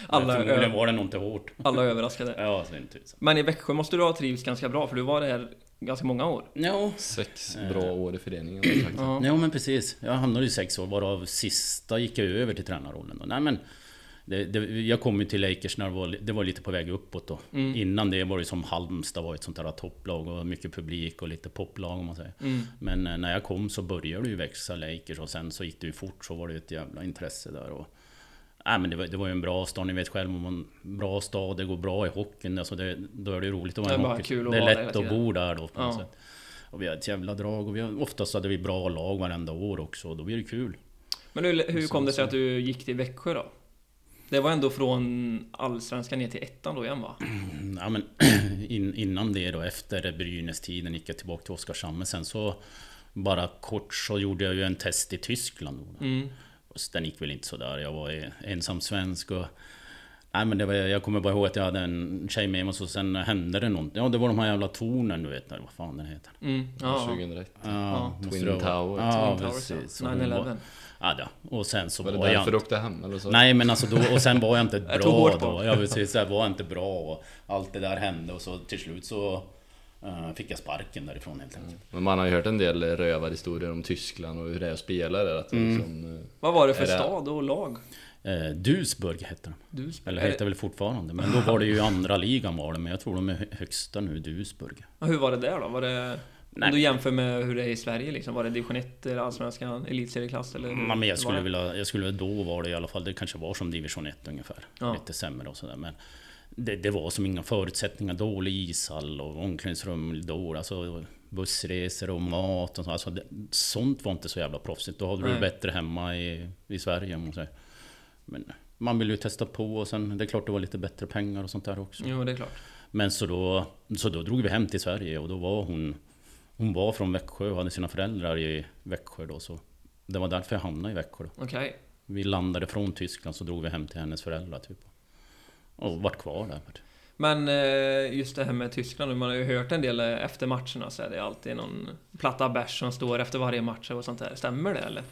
B: Alla- eh,
C: Alla, förmodligen var det nog inte hårt
B: alla är överraskade.
C: Ja, så är det inte ut så.
B: Men i Växjö måste du ha trivts ganska bra, för du var där ganska många år.
C: Jo,
A: Sex
C: Eh.
A: bra år i föreningen har jag sagt.
B: Ja.
C: Jo men precis. Jag hamnade i sex år, varav sista gick jag över till tränarrollen. Då. Nej men... Det, det, jag kom ju till Lakers när det var, det var lite på väg uppåt då. Innan det var det som Halmstad var ett sånt här topplag och mycket publik och lite poplag om man säger.
B: Mm.
C: Men eh, när jag kom så började det ju växa Lakers och sen så gick det ju fort så var det ju ett jävla intresse där. Och, Nej men det var, det var ju en bra stad, ni vet själv om man... Bra stad, det går bra i hockeyn. Alltså det, då är det ju roligt att vara
B: Det är
C: i
B: bara
C: hockey.
B: kul att
C: det är
B: vara där
C: lätt
B: hela
C: att
B: tiden.
C: bo där då på något
B: Ja.
C: sätt. Och vi hade ett jävla drag och vi har, oftast hade vi bra lag varenda år också och då blir det kul.
B: Men hur, hur kom det sig att du gick till Växjö då? Det var ändå från Allsvenskan ner till ettan då igen va?
C: Mm, Ja, men [CLEARS THROAT] in, innan det då, efter Brynäs-tiden gick jag tillbaka till Oskarshamn. Men sen så bara kort så gjorde jag ju en test i Tyskland. Då.
B: Mm.
C: Och Den gick väl inte sådär. Jag var eh, ensam svensk och... Nej men det var, jag kommer bara ihåg att jag hade en tjej med mig och så sen hände det någonting. Ja det var de här jävla tornen du vet, eller vad fan den heter.
B: Mm, ja.
A: 2001.
C: Ja, måste
A: Twin
C: det vara.
A: Towers.
C: Ja,
B: Twin Towers, ja.
C: precis.
B: 9-11.
C: Ja, då. och sen så
A: Var
C: var,
A: det
C: jag...
A: därför du åkte hem eller så?
C: Nej men alltså då, och sen var jag inte
B: [LAUGHS] Jag tog
C: bra
B: hårt på
C: då.
B: honom.
C: Jag vill säga så här, var jag inte bra och allt det där hände och så till slut så eh, fick jag sparken därifrån helt enkelt.
A: Men man har ju hört en del rövarhistorier om Tyskland och hur det är att spela där. Att det
B: Mm.
A: liksom, eh,
B: Vad var det för
A: Är det-
B: stad och lag? Mm.
C: Eh, Duisburg hette den.
B: Du
C: Eller
B: är det-
C: heter väl fortfarande. Men då var det ju andra ligan var det. Men jag tror de är hö- högsta nu, Duisburg.
B: Ja, Hur var det där då? Var det...
C: Nej.
B: Om du jämför med hur det är i Sverige liksom, var det division 1 eller allsvenskan, elitserieklass eller? hur
C: Ja, Mm, men jag
B: Mm. var
C: skulle
B: det?
C: vilja, jag skulle då var det i alla fall, det kanske var som division 1 ungefär.
B: Ja.
C: Lite sämre och sådär. Men det, det var som inga förutsättningar, dålig ishall och omklädningsrum dåligt. Alltså bussresor och mat och så. Alltså, det, sånt var inte så jävla proffsigt. Då hade du det
B: Nej.
C: bättre hemma i, i Sverige om man säger. Men man ville ju testa på och sen, det är klart det var lite bättre pengar och sånt där också.
B: Jo, det är klart.
C: Men så då, så då drog vi hem till Sverige och då var hon Hon var från Växjö och hade sina föräldrar i Växjö då så Det var därför jag hamnade i Växjö då.
B: Okej.
C: Vi landade från Tyskland så drog vi hem till hennes föräldrar typ Och vart kvar där
B: Men eh, just det här med Tyskland, nu, man har ju hört en del eh, efter matcherna så är det alltid någon platta bärs som står efter varje match och sånt där. Stämmer det eller?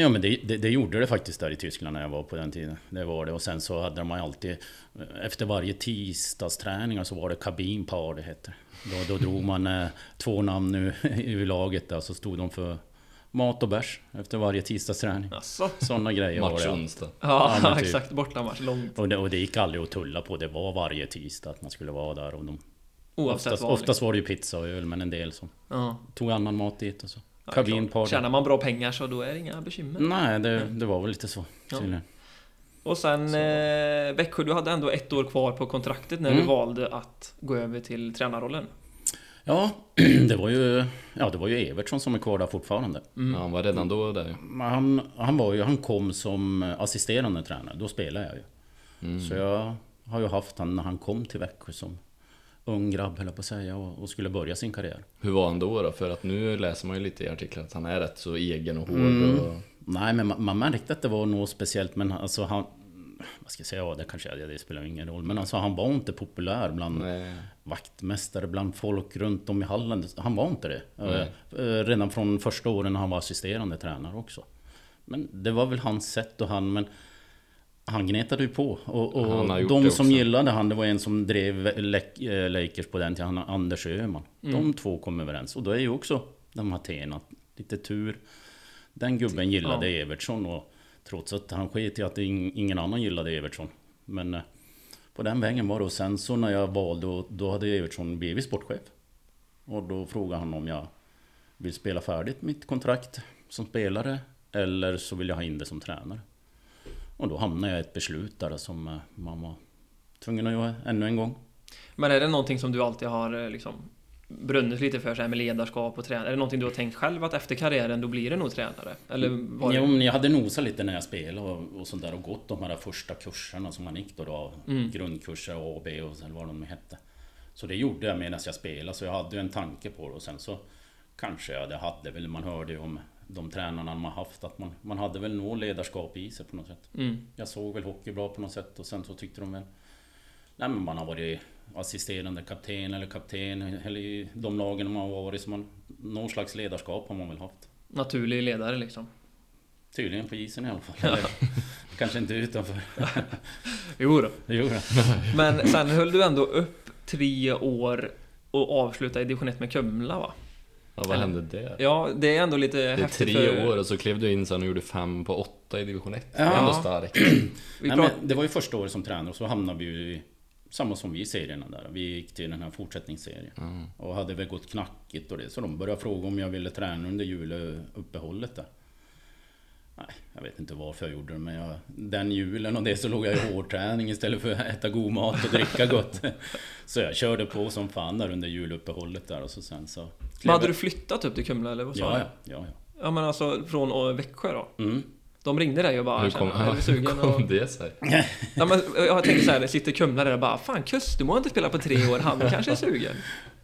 C: Ja men det, det, det gjorde det faktiskt där i Tyskland när jag var på den tiden. Det var det. Och sen så hade de ju alltid... eh, Efter varje tisdagsträningar så var det kabinpar det hette. Då, då drog man eh, två namn nu [LAUGHS] ur laget där så stod de för mat och bärs efter varje tisdagsträning.
B: Jaså?
C: Sådana grejer var
A: match
C: det. ja.
A: onsdag.
B: Ja, [LAUGHS]
C: men typ.
B: exakt. Bortamatch. Långt.
C: Och det, och det gick aldrig att tulla på. Det var varje tisdag att man skulle vara där. Och de,
B: Oavsett
C: oftast,
B: vad.
C: oftast var det ju pizza och öl men en del som
B: Ja.
C: tog annan mat dit och så.
B: Ja, klart.
C: Kabinpar. Mm.
B: Tjänar man bra pengar så då är det inga bekymmer.
C: Nej, det, det var väl lite så.
B: Ja.
C: tydligen.
B: Och sen eh, Växjö, du hade ändå ett år kvar på kontraktet när du
C: Mm.
B: valde att gå över till tränarrollen.
C: Ja, [CLEARS THROAT] det var ju, ja, det var ju Evertsson som är kvar där fortfarande.
B: Mm.
A: Ja, han var redan då där ju.
C: Men Han, han, var ju, han kom som assisterande tränare, då spelade jag ju.
B: Mm.
C: Så jag har ju haft han när han kom till Växjö som ung grabb, höll jag på att säga, och, och skulle börja sin karriär.
A: Hur var han då då? För att nu läser man ju lite i artiklar att han är rätt så egen och hård
B: Mm.
A: och...
C: Nej, men man, man märkte att det var något speciellt, men alltså han... Vad ska jag säga? Ja, det kanske är, det spelar ingen roll. Men alltså han var inte populär bland
A: Nej.
C: vaktmästare, bland folk runt om i Halland. Han var inte det.
A: Mm.
C: Eh, eh, Redan från första åren när han var assisterande tränare också. Men det var väl hans sätt och han, men... Han gnetade ju på. Och,
A: Han
C: och
A: har gjort det
C: de
A: också.
C: som gillade han, det var en som drev Lek- eh, Lakers på den tiden, han- Anders Öhman. De
A: Mm.
C: två kom överens. Och då är ju också de här teerna, lite tur. Den gubben gillade Evertsson och trots att han sket i att ing- ingen annan gillade Evertsson. Men eh, på den vägen var det. Och sen så när jag valde, och då hade Evertsson blivit sportchef. Och då frågade han om jag vill spela färdigt mitt kontrakt som spelare eller så vill jag ha in det som tränare. Och då hamnade jag i ett beslut där som eh, man var tvungen att göra ännu en gång.
B: Men är det någonting som du alltid har eh, liksom, brunnit lite för så här med ledarskap och tränare? Är det någonting du har tänkt själv att efter karriären då blir det nog tränare? Eller var
C: Jo,
B: det...
C: men jag hade nosat lite när jag spelade och, och sånt där och gått de här första kurserna som man gick då. då Grundkurser A och B och sen vad de hette. Så det gjorde jag medan jag spelade så jag hade ju en tanke på det och sen så kanske jag det hade väl, man hörde ju om de tränarna man haft att man, man hade väl något ledarskap i sig på något sätt.
B: Mm.
C: Jag såg väl hockey bra på något sätt och sen så tyckte de väl... Nej men man har varit assisterande kapten eller kapten eller i de lagen man har varit så man... Någon slags ledarskap har man väl haft.
B: Naturlig ledare liksom?
C: Tydligen på isen i
B: [LAUGHS]
C: alla fall. Eller, kanske inte utanför. [LAUGHS]
B: Jo då.
C: Jo,
B: Men sen höll du ändå upp tre år och avslutade i division 1 med Kumla va?
A: Ja, vad
B: Eller-
A: hände där?
B: Ja, det är ändå lite
A: Det är
B: häftigt
A: tre
B: för-
A: år och så klev du in sen och gjorde fem på åtta i division 1. Det är
C: Ja.
A: ändå starkt.
B: Vi
C: Nej,
B: pratar-
C: men det var ju första året som tränare och så hamnade vi ju i samma som vi i serierna där. Vi gick till den här fortsättningsserien. Och hade väl gått knackigt och det. Så de började fråga om jag ville träna under juluppehållet där. Nej, jag vet inte varför jag gjorde det men jag, den julen och det så låg jag i hårdträning istället för att äta god mat och
B: [LAUGHS]
C: dricka gott. Så jag körde på som fan där under juluppehållet där och så sen så...
B: Men hade du flyttat upp till Kumla eller vad sa
C: Ja,
B: du?
C: ja, ja, ja.
B: Ja men alltså från eh, Växjö då?
C: Mm.
B: De ringde dig och bara
A: Hur
B: "Tjena,
A: kom, [LAUGHS]
B: är du
A: hur
B: sugen? Och...
A: kom det sig?
B: Nej, men jag tänkte såhär, sitter Kumla där och bara Fan Kustermo har inte spelat på tre år, han kanske är sugen?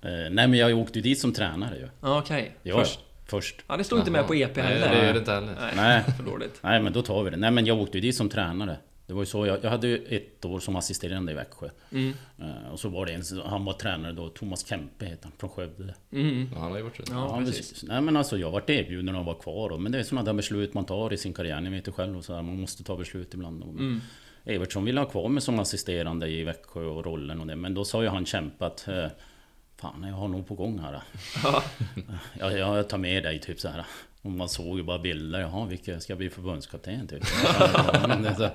C: Eh, nej men jag åkte ju dit som tränare ju.
B: Ja okej,
C: Ja,
B: först.
C: först. först.
B: Ja det stod inte med på EP
A: Nej,
B: heller.
A: det gör det inte heller.
B: Nej,
C: Nej.
B: [LAUGHS] för dåligt.
C: Nej men då tar vi det. Nej men jag åkte ju dit som tränare. Det var ju så jag, jag hade ju ett år som assisterande i Växjö.
B: Mm.
C: Eh, och så var det en, som- han var tränare då, Thomas Kempe heter han, från Skövde.
B: Mm.
A: Ja, han har ju varit rätt.
B: Ja,
C: Ja,
B: precis.
C: precis. Nej men alltså jag vart erbjuden att vara kvar då. Men det är sådana där beslut man tar i sin karriär. Ni vet ju själv och så här, man måste ta beslut ibland. Mm. Evertsson ville ha kvar mig som assisterande i Växjö och rollen och det. Men då sa ju han kämpat. Eh, Fan jag har nog på gång här.
B: Ja.
C: [LAUGHS] Ja, ja, jag tar med dig typ så här. Och man såg ju bara bilder. Jaha, vilka ska bli förbundskapten typ? [LAUGHS]
B: [LAUGHS]
C: så,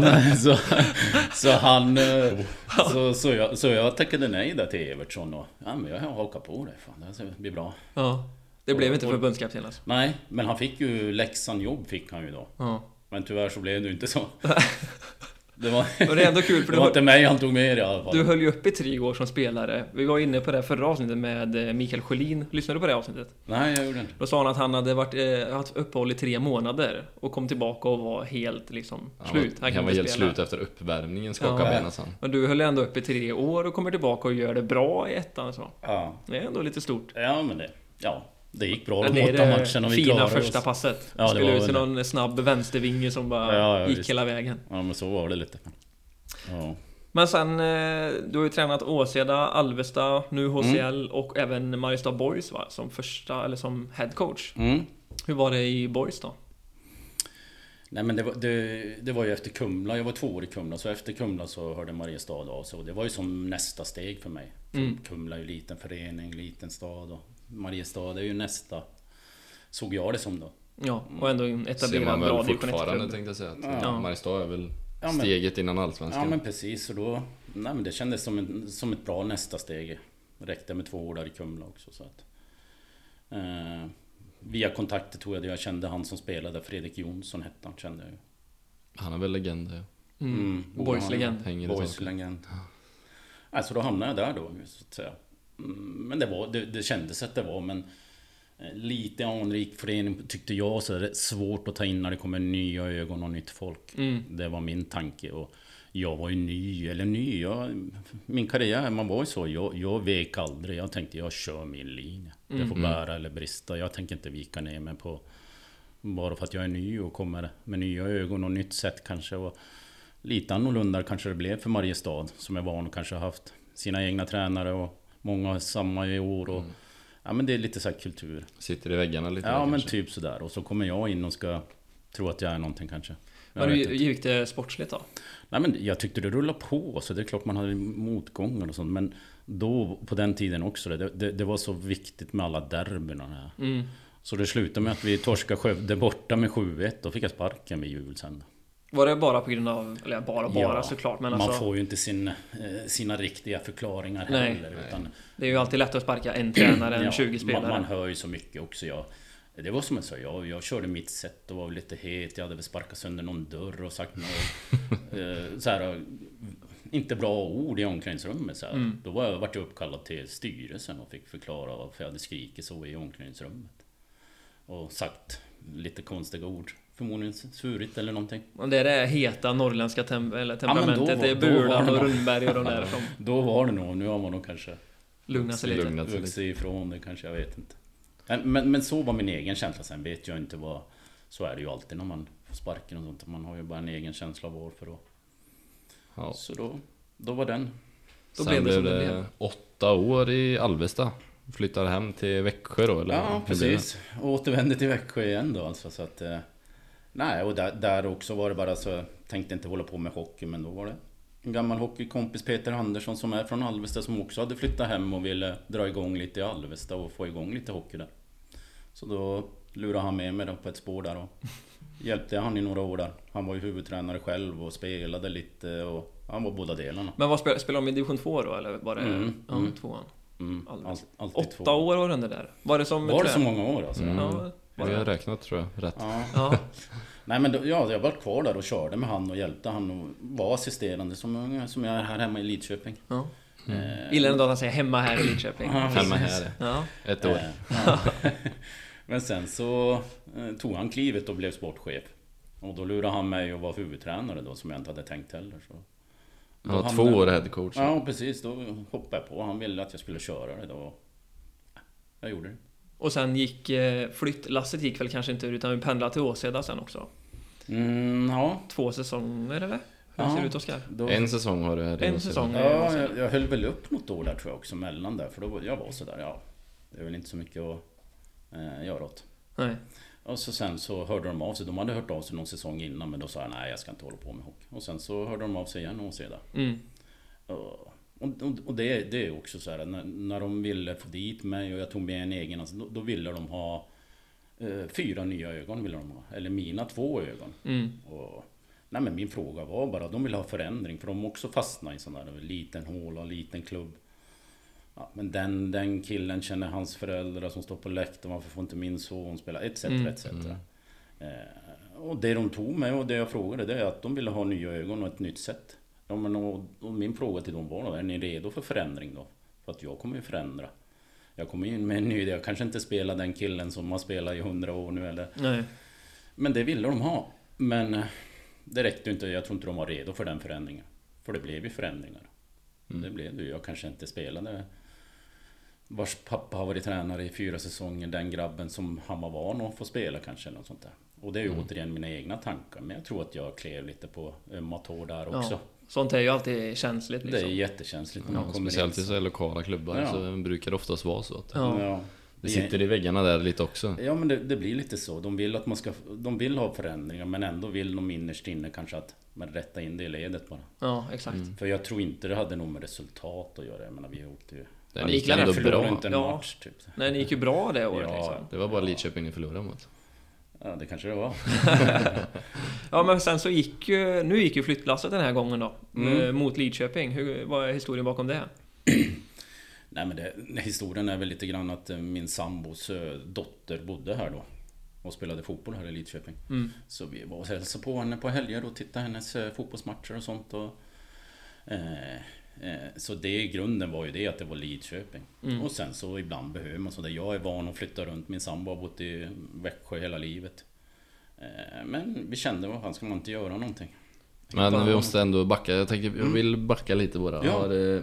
C: Nej, så, så han... eh, Så, så, jag, så jag tackade nej där till Evertsson och... Ja, men jag hakar på det. Fan, det här ska bli bra.
B: ja. Det blev inte
C: Och-
B: förbundskapten alltså.
C: Nej, men han fick ju Leksandjobb fick han ju då.
B: Ja.
C: Men tyvärr så blev det ju
B: [LAUGHS]
C: inte så. Det var,
B: Och det är ändå kul för
C: det
B: du,
C: var
B: höll-
C: inte mig han tog med i alla fall.
B: du höll ju upp i tre år som spelare. Vi var inne på det här förra avsnittet med eh, Mikael Sjölin. Lyssnade du på det avsnittet?
C: Nej, jag gjorde inte.
B: Då sa han att han hade varit, eh, haft uppehåll i tre månader och kom tillbaka och var helt liksom
A: Han
B: slut.
A: var,
B: Han,
A: han
B: kan
A: var
B: inte
A: helt
B: spela.
A: slut efter uppvärmningen, skakade
B: Ja.
A: benen sen.
B: Men du höll ändå upp i tre år och kommer tillbaka och gör det bra i ettan så.
C: Ja,
B: Det är ändå lite stort.
C: ja men det... Ja, det gick bra
B: Men
C: de
B: det är
C: åtta
B: det
C: matcherna och vi
B: fina
C: klarade
B: första
C: oss.
B: passet.
C: Ja, det
B: Spelade
C: var
B: ut till
C: väl
B: någon snabb vänstervinge som bara
C: Ja, ja,
B: gick
C: visst.
B: hela vägen.
C: Ja men så var det lite. Ja.
B: Men sen, eh, du har ju tränat Åseda, Alvesta, nu
C: Mm.
B: HCL och även Mariestad Boys va? Som första, eller som headcoach.
C: Mm.
B: Hur var det i Boys då?
C: Nej men det var, det, det var ju efter Kumla, jag var två år i Kumla så efter Kumla så hörde Mariestad av sig och det var ju som nästa steg för mig. För Kumla är ju liten förening, liten stad och Mariestad är ju nästa, såg jag det som då.
B: Ja, och ändå
C: Mm.
B: en
A: Ser
B: etablerad
A: man
B: bra
A: väl
B: division 1-klubb.
A: fortfarande tänkte jag säga. Att
B: Ja.
A: ja. Mariestad är väl
C: Ja, men-
A: steget innan
C: Ja
A: Allsvenskan.
C: men precis och då, nej men det kändes som, en, som ett bra nästa steg. Räckte med två år där i Kumla också så att. Eh, via kontakter tog jag det, jag kände han som spelade, Fredrik Jonsson hette han kände jag ju.
A: Han är väl legend ja.
B: Mm. Boys legend.
A: Hänger i
C: Boys
A: taket.
C: legend. Alltså då hamnade jag där då, så att säga. Mm, Men det, var, det, det kändes att det var, men eh, lite anrik förening tyckte jag, så det är svårt att ta in när det kommer nya ögon och nytt folk.
A: Mm.
C: Det var min tanke. Och jag var ju ny, eller ny, jag, min karriär, man var ju så. Jag, jag vek aldrig. Jag tänkte, jag kör min linje.
A: Mm.
C: Det får bära eller brista. Jag tänker inte vika ner mig på bara för att jag är ny och kommer med nya ögon och nytt sätt kanske. Och lite annorlunda kanske det blev för Mariestad som är van och kanske har haft sina egna tränare och många har samma i år. Och, Ja men det är lite så här kultur.
A: Sitter i väggarna lite
C: Ja
A: där,
C: men
A: kanske.
C: typ sådär. Och så kommer jag in och ska tro att jag är någonting kanske. Jag
B: Men
C: vet
B: hur
C: inte.
B: hur gick det sportsligt då?
C: Nej men jag tyckte det rullade på, så det är klart man hade motgångar och sånt. Men då, på den tiden också, det, det, det var så viktigt med alla derbyn och det här. Så det slutade med att vi torskade Skövde borta med 7-1. Då fick jag sparken vid jul sen.
B: Var det bara på grund av, eller bara bara
C: Ja,
B: såklart men
C: man
B: alltså
C: får ju inte sin, eh, sina riktiga förklaringar
B: Nej.
C: heller. Utan,
B: Det är ju alltid lätt att sparka en tränare än
C: Ja,
B: 20 spelare.
C: Man, man hör ju så mycket också. Jag, det var som jag sa, jag, jag körde mitt sätt och var väl lite het. Jag hade väl sparkat sönder någon dörr och
B: [LAUGHS]
C: sagt några... eh, så här, eh, inte bra ord i omklädningsrummet. Så här.
B: Mm.
C: Då var jag, vart jag uppkallad till styrelsen och fick förklara varför jag hade skrikit så i omklädningsrummet. Och sagt lite konstiga ord. Förmodligen svurit eller någonting.
B: Och Det är det heta norrländska tem eller
C: men då
B: temperamentet.
C: var-
B: det är
C: då var
B: Bulan
C: det
B: och
C: nog-
B: Rundberg och de där som
C: Då var det nog, nu har man nog kanske
B: lugnar sig lite.
A: Lugnat sig lite.
C: vuxit ifrån det kanske, jag vet inte. Men, men, men så var min egen känsla, sen vet jag inte vad... Så är det ju alltid när man får sparken och sånt, man har ju bara en egen känsla av varför då.
A: Ja.
C: Så då, då var den.
B: Då
A: Sen
B: blev det
A: blev
B: som
A: det,
B: det blev.
A: åtta år i Alvesta. Flyttade hem till Växjö då eller?
C: Ja,
A: hur blev det?
C: precis. Och återvände till Växjö igen då alltså, så att... eh, Nej, och där, där också var det bara så... Tänkte inte hålla på med hockey, men då var det en gammal hockeykompis, Peter Andersson, som är från Alvesta, som också hade flyttat hem och ville dra igång lite i Alvesta och få igång lite hockey där. Så då lurade han med mig då på ett spår där och [LAUGHS] hjälpte han i några år där. Han var ju huvudtränare själv och spelade lite och han var båda delarna.
B: Men vad spel, spelade de i division 2 då eller var det
C: Mm,
B: ja,
C: mm.
B: tvåan?
C: Mm, all,
B: Alvesta.
C: alltid två.
B: Åtta år var den där. Var det som...
C: Var det
B: trä-
C: så många år alltså?
A: Mm.
B: Ja, var
A: Vi har
B: det?
A: räknat tror jag, rätt.
C: Ja.
B: Ja.
C: Nej men då, ja, jag var kvar där och körde med han och hjälpte han och var assisterande som, som jag är här hemma i Lidköping.
B: ja.
A: Mm.
C: Eh,
B: Gillar ändå att han säger hemma här i Lidköping.
C: Ja,
A: Femma här,
B: Ja.
A: ett år.
C: eh, ja. [LAUGHS] men sen så eh, tog han klivet och blev sportchef. Och då lurade han mig att vara huvudtränare då som jag inte hade tänkt heller. Så.
A: Han var
C: han-
A: två år headcoach.
C: Ja precis, då hoppade jag på. Han ville att jag skulle köra det då. Jag gjorde det.
B: Och sen gick... eh, Flyttlasset gick väl kanske inte ur utan vi pendlade till Åseda sen också.
C: Mm, ja.
B: Två säsonger eller? Hur
C: Ja.
B: ser det ut Oskar?
C: Då,
A: En säsong har du här i
B: En
A: Åsele.
B: säsong.
C: Ja, jag, jag höll väl upp något år där tror jag också mellan där. För då, var- jag var sådär, ja. Det är väl inte så mycket att eh, göra åt.
B: Nej.
C: Och så sen så hörde de av sig. De hade hört av sig någon säsong innan men då sa jag nej jag ska inte hålla på med hockey. Och sen så hörde de av sig igen och sedan.
B: Mm.
C: Och, och, och det, det är också så här när, när de ville få dit mig och jag tog med en egen. Alltså, då, då ville de ha eh, fyra nya ögon. Ville de ha, eller mina två ögon.
B: Mm.
C: Och, nej men min fråga var bara, de vill ha förändring för de också fastnar i sån där liten håla, liten klubb. Ja, men den, den killen känner hans föräldrar som står på läktaren, varför får inte min son spela? Etc, etc. Eh, och det de tog med och det jag frågade det är att de ville ha nya ögon och ett nytt sätt. Ja, men och, och min fråga till dem var då, är ni redo för förändring då? För att jag kommer ju förändra. Jag kommer in med en ny idé, jag kanske inte spelar den killen som har spelat i hundra år nu eller
B: Nej.
C: men det ville de ha. Men eh, det räckte ju inte. Jag tror inte de var redo för den förändringen. För det blev ju förändringar. Det blev det ju. Jag kanske inte spelade vars pappa har varit tränare i fyra säsonger. Den grabben som han var van att få spela kanske. Något sånt där. Och det är ju återigen mina egna tankar. Men jag tror att jag klev lite på ömma tår där också.
B: Ja. Sånt är ju alltid känsligt
C: Det är
B: liksom.
C: jättekänsligt när man
A: Ja,
C: kommer
A: speciellt i
C: in.
A: så här lokala klubbar
C: Ja.
A: så brukar det oftast vara så att
B: Ja.
C: Ja.
A: det sitter i väggarna där lite också.
C: Ja men det, det blir lite så. De vill att man ska... De vill ha förändringar men ändå vill de innerst inne kanske att man rättar in det i ledet bara.
B: Ja, exakt.
C: För jag tror inte det hade något med resultat att göra. Jag menar vi åkte ju...
A: Den
B: det
A: gick
B: gick
A: ändå
B: väl
C: Förlorade
A: bra.
C: inte en
B: Ja.
C: match typ.
B: Nej, ni gick ju bra det året
C: Ja.
B: liksom.
A: Det var bara Lidköping ni förlorade mot.
C: Ja det kanske det var.
B: Ja, men sen så gick ju... Nu gick ju flyttlasset den här gången då. eh, Mot Lidköping. Hur, vad är historien bakom det?
C: Nej men det, historien är väl lite grann att eh, min sambos eh, dotter bodde här då. och spelade fotboll här i Lidköping.
B: Mm.
C: Så vi var och hälsade på henne på helger och tittade hennes eh, fotbollsmatcher och sånt. Och, eh, eh, så det i grunden var ju det att det var Lidköping. Och sen så ibland behöver man sådär. Jag är van att flytta runt. Min sambo har bott i Växjö hela livet. Eh, men vi kände, vad fan ska man inte göra någonting?
A: Men vi måste ändå backa. Jag, tänker, jag vill backa lite bara.
C: Mm. Ja.
A: Har, eh,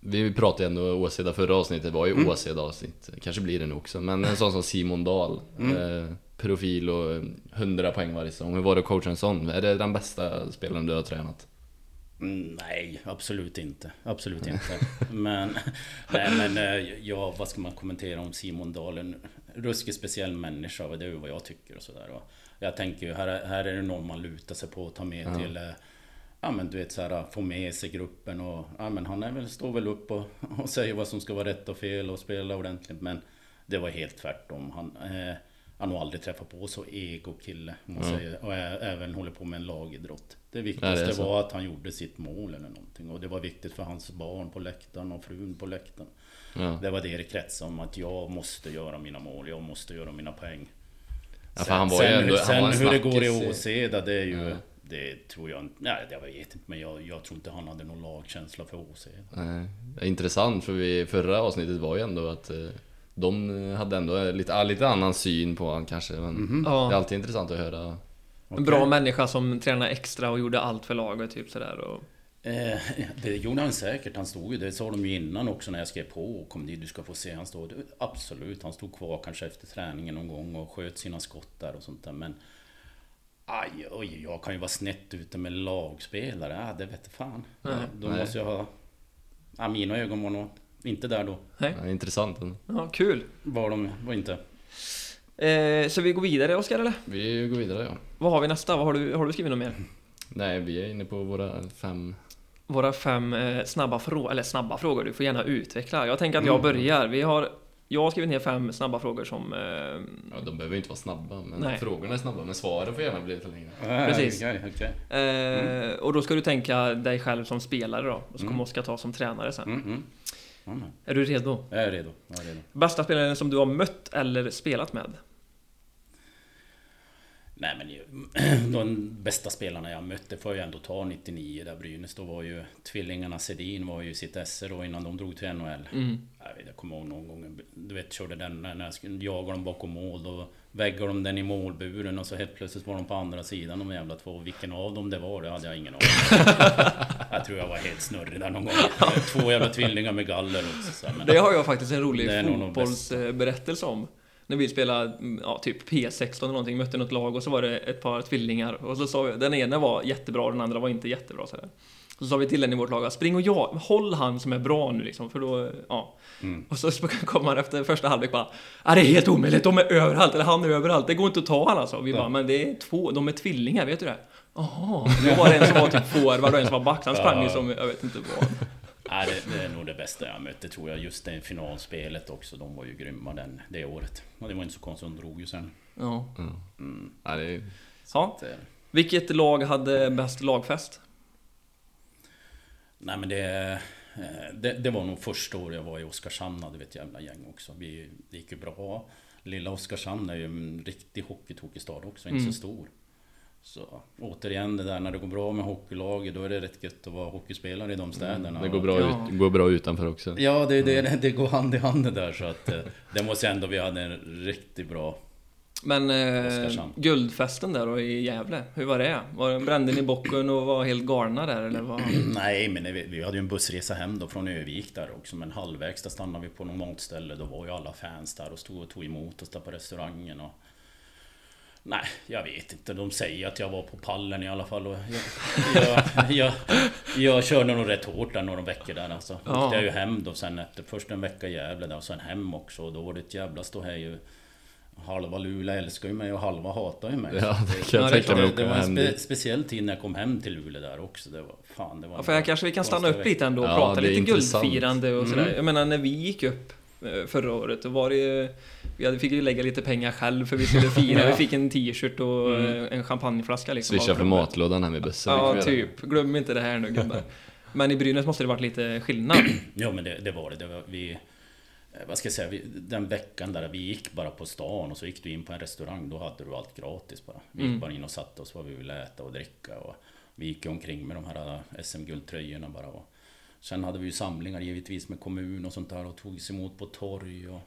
A: vi pratade ju ändå Åseda förra avsnittet. var ju
C: Mm.
A: Åseda avsnitt. Kanske blir det nu också. Men en sån som Simon Dahl.
C: Mm.
A: Eh, profil och eh, 100 poäng varje säsong. Hur var det att coacha en sån? Är det den bästa spelaren du har tränat?
C: Mm, Nej, absolut inte. Absolut inte. Men, nej, men eh, ja, vad ska man kommentera om Simon Dahl? En ruskig speciell människa, och det är ju vad jag tycker och sådär. va. Jag tänker ju, här, är- här är det någon man lutar sig på och tar med till... eh, Ja men du vet så här, få med sig gruppen och... Ja men han är väl, står väl upp och, och säger vad som ska vara rätt och fel och spela ordentligt. Men det var helt tvärtom. Han, eh, han har aldrig träffat på så ego-kille, om man säger. Och ä- även håller på med en lagidrott. Det viktigaste
A: Ja, det är så.
C: var att han gjorde sitt mål eller någonting. Och det var viktigt för hans barn på läktaren och frun på läktaren.
A: Ja.
C: Det var det det kretsade om, att jag måste göra mina mål, jag måste göra mina poäng.
A: Ja, för han var ju ändå-
C: hur,
A: han var en
C: sen hur det går
A: snackis i-
C: i Åseda, det är ju... Det tror jag inte... Nej, jag vet inte. Men jag, jag tror inte han hade någon lagkänsla för Åseda.
A: Nej. Det är Intressant för vi, förra avsnittet var ju ändå att eh, de hade ändå lite, ah, lite annan syn på honom kanske. Men
C: Mhm.
B: Ja.
A: det är alltid intressant att höra.
B: En bra människa som tränade extra och gjorde allt för laget, typ sådär. Och...
C: Eh, [LAUGHS] det gjorde han säkert. Han stod ju, det sa de ju innan också när jag skrev på och kom dit. Du ska få se, han stod... Absolut, han stod kvar kanske efter träningen någon gång och sköt sina skott där och sånt där. Men... Aj, oj, jag kan ju vara snett ute med lagspelare. Ah, det vet fan. Då
A: Nej.
C: måste jag ha... Ah, mina ögon var nog inte där då.
B: Nej.
A: Ja, intressant.
B: Ja, kul.
C: Var de var inte.
B: Eh, så vi går vidare, Oskar, eller?
A: Vi går vidare ja.
B: Vad har vi nästa? Vad har, du, har du skrivit något mer?
A: Nej, vi är inne på våra fem...
B: Våra fem eh, snabba frågor, eller snabba frågor, du får gärna utveckla. Jag tänker att jag börjar. Vi har, jag har skrivit ner fem snabba frågor som... Eh,
A: Ja, de behöver ju inte vara snabba. Men
B: Nej.
A: Frågorna är snabba, men svaren får gärna bli lite längre.
B: Precis.
C: Ah, okej,
B: eh,
C: okej.
B: och då ska du tänka dig själv som spelare då, och så kommer Oskar ta som tränare sen.
C: Mm, mm. Ja, nej.
B: Är du redo?
C: Jag är redo. Jag är redo.
B: Bästa spelaren som du har mött eller spelat med?
C: Nej men ju- [CLEARS THROAT] de bästa spelarna jag mötte får jag ändå ta 99 där Brynäs. Då var ju tvillingarna Sedin var ju i sitt esse då innan de drog till NHL.
B: Mm.
C: Jag, vet, jag kommer ihåg någon gång, du vet körde den när när jag skulle- jagade dem bakom mål. Då väggar de den i målburen och så helt plötsligt var de på andra sidan de jävla två. Vilken av dem det var det hade jag ingen aning om. Jag tror jag var helt snurrig där någon gång. Två jävla tvillingar med galler också. Så, här, men,
B: Det har jag faktiskt en
C: Det är
B: rolig
C: nog de bästa.
B: fotbollsberättelse om. När vi spelade mm, ja, typ P16 eller någonting, mötte något lag och så var det ett par tvillingar. Och så sa vi, den ena var jättebra och den andra var inte jättebra. Så, där. så sa vi till den i vårt lag, att spring och jag, håll han som är bra nu liksom, för då, ja.
C: Mm.
B: Och så [LAUGHS] kom han efter första halvlek bara, "Ja, det är helt omöjligt, de är överallt, eller han är överallt, det går inte att ta han alltså. Vi bara, men det är två, de är tvillingar, vet du det?
C: [LAUGHS]
B: Jaha, då var det en som var typ forward och en som var back, så han sprang ju som, jag vet inte vad.
C: [LAUGHS] nej, det, det är nog det bästa jag mötte tror jag. Just det finalspelet också. De var ju grymma den, det året. Och det var inte så konstigt, de drog ju sen.
B: Ja.
A: Ja, det är...
B: Ja.
C: Det-
B: Vilket lag hade bäst lagfest?
C: Nej men det, eh, det, det var nog första året jag var i Oskarshamn hade vi ett jävla gäng också. Vi, det gick ju bra. Lilla Oskarshamn är ju en riktig hockeytokig stad också,
A: Mm.
C: inte så stor. Så återigen det där när det går bra med hockeylaget då är det rätt gött att vara hockeyspelare i de städerna.
A: Mm, Det går bra,
B: Ja.
A: ut, går bra utanför också.
C: Ja, det, det, det, det går hand i hand det där så att eh, det måste jag ändå, vi hade en riktigt bra
B: Men eh,
C: Oskarshamn.
B: guldfesten där då i Gävle, hur var det? Var, brände ni bocken och var helt galna där eller? Var...
C: [CLEARS THROAT] Nej, men vi, vi hade ju en bussresa hem då från Övik där också. Men halvvägs där stannade vi på något matställe. Då var ju alla fans där och stod och tog emot oss där på restaurangen. Och... Nej, jag vet inte. De säger att jag var på pallen i alla fall. Och jag, jag, jag, jag körde nog rätt hårt där några veckor där alltså.
B: Ja.
C: Åkte jag ju hem då sen efter. Först en vecka i Gävle där och sen hem också. Och då var det ett jävla ståhej. Halva Luleå älskar ju mig och halva hatar ju mig.
A: Ja, det kan
B: Ja,
A: jag
B: det är
A: tänka
B: klart.
A: mig
C: Det,
A: åka
C: det var en
A: hem
C: spe,
A: dit.
C: speciell tid när jag kom hem till Luleå där också. Det var, fan, det var
B: Ja, för här kanske vi kan stanna upp lite ändå och
A: Ja,
B: prata
A: det är
B: lite
A: intressant. Mm.
B: guldfirande och sådär. Jag menar när vi gick upp eh, förra året, då var det ju... Vi hade- fick ju lägga lite pengar själv för vi
A: [LAUGHS]
B: skulle fira. Vi fick en t-shirt och eh, en champagneflaska liksom. av
A: Mm. Swisha för
B: klubben.
A: matlådan hem i bussen. det kan vi
B: Ja,
A: göra.
B: typ. Glöm inte det här nu gubbar. Men i Brynäs måste det varit lite skillnad.
C: Ja men det, det var det. det var, vi, eh, vad ska jag säga, vi- den veckan där vi gick bara på stan och så gick du in på en restaurang, då hade du allt gratis bara. Vi
B: Mm.
C: gick bara in och satte oss vad vi ville äta och dricka och vi gick ju omkring med de här SM-guldtröjorna bara. Och sen hade vi ju samlingar givetvis med kommun och sånt där och togs emot på torg och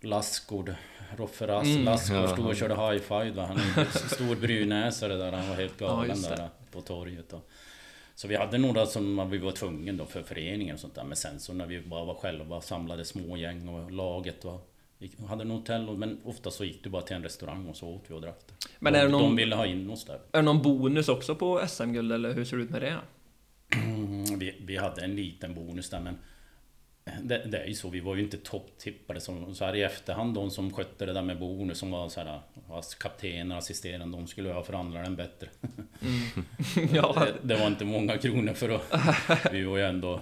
C: Lassgård, Roffe Rass,
B: Mm.
C: Lassgård stod och körde high-five. va. Han är en stor brynäsare där, han var helt
B: Ja,
C: galen
B: just det.
C: där på torget. Och. Så vi hade några som vi var tvungna då för föreningen och sånt där. Men sen så när vi bara var själva samlade små gäng och laget och gick- hade en hotell. och- Men ofta så gick du bara till en restaurang och så åt vi och drack.
B: Men
C: Och
B: är det någon-
C: De ville ha in oss där.
B: Är det någon bonus också på SM-guld eller hur ser det ut med det?
C: Mm, vi, vi hade en liten bonus där men det, det är ju så, vi var ju inte topptippare som, så här i efterhand de som skötte det där med bonus som var så här ass- kaptener, assisterande, de skulle ha förhandlat den bättre. [LAUGHS]
B: ja,
C: Det, det var inte många kronor för
B: [LAUGHS]
C: att vi var ju ändå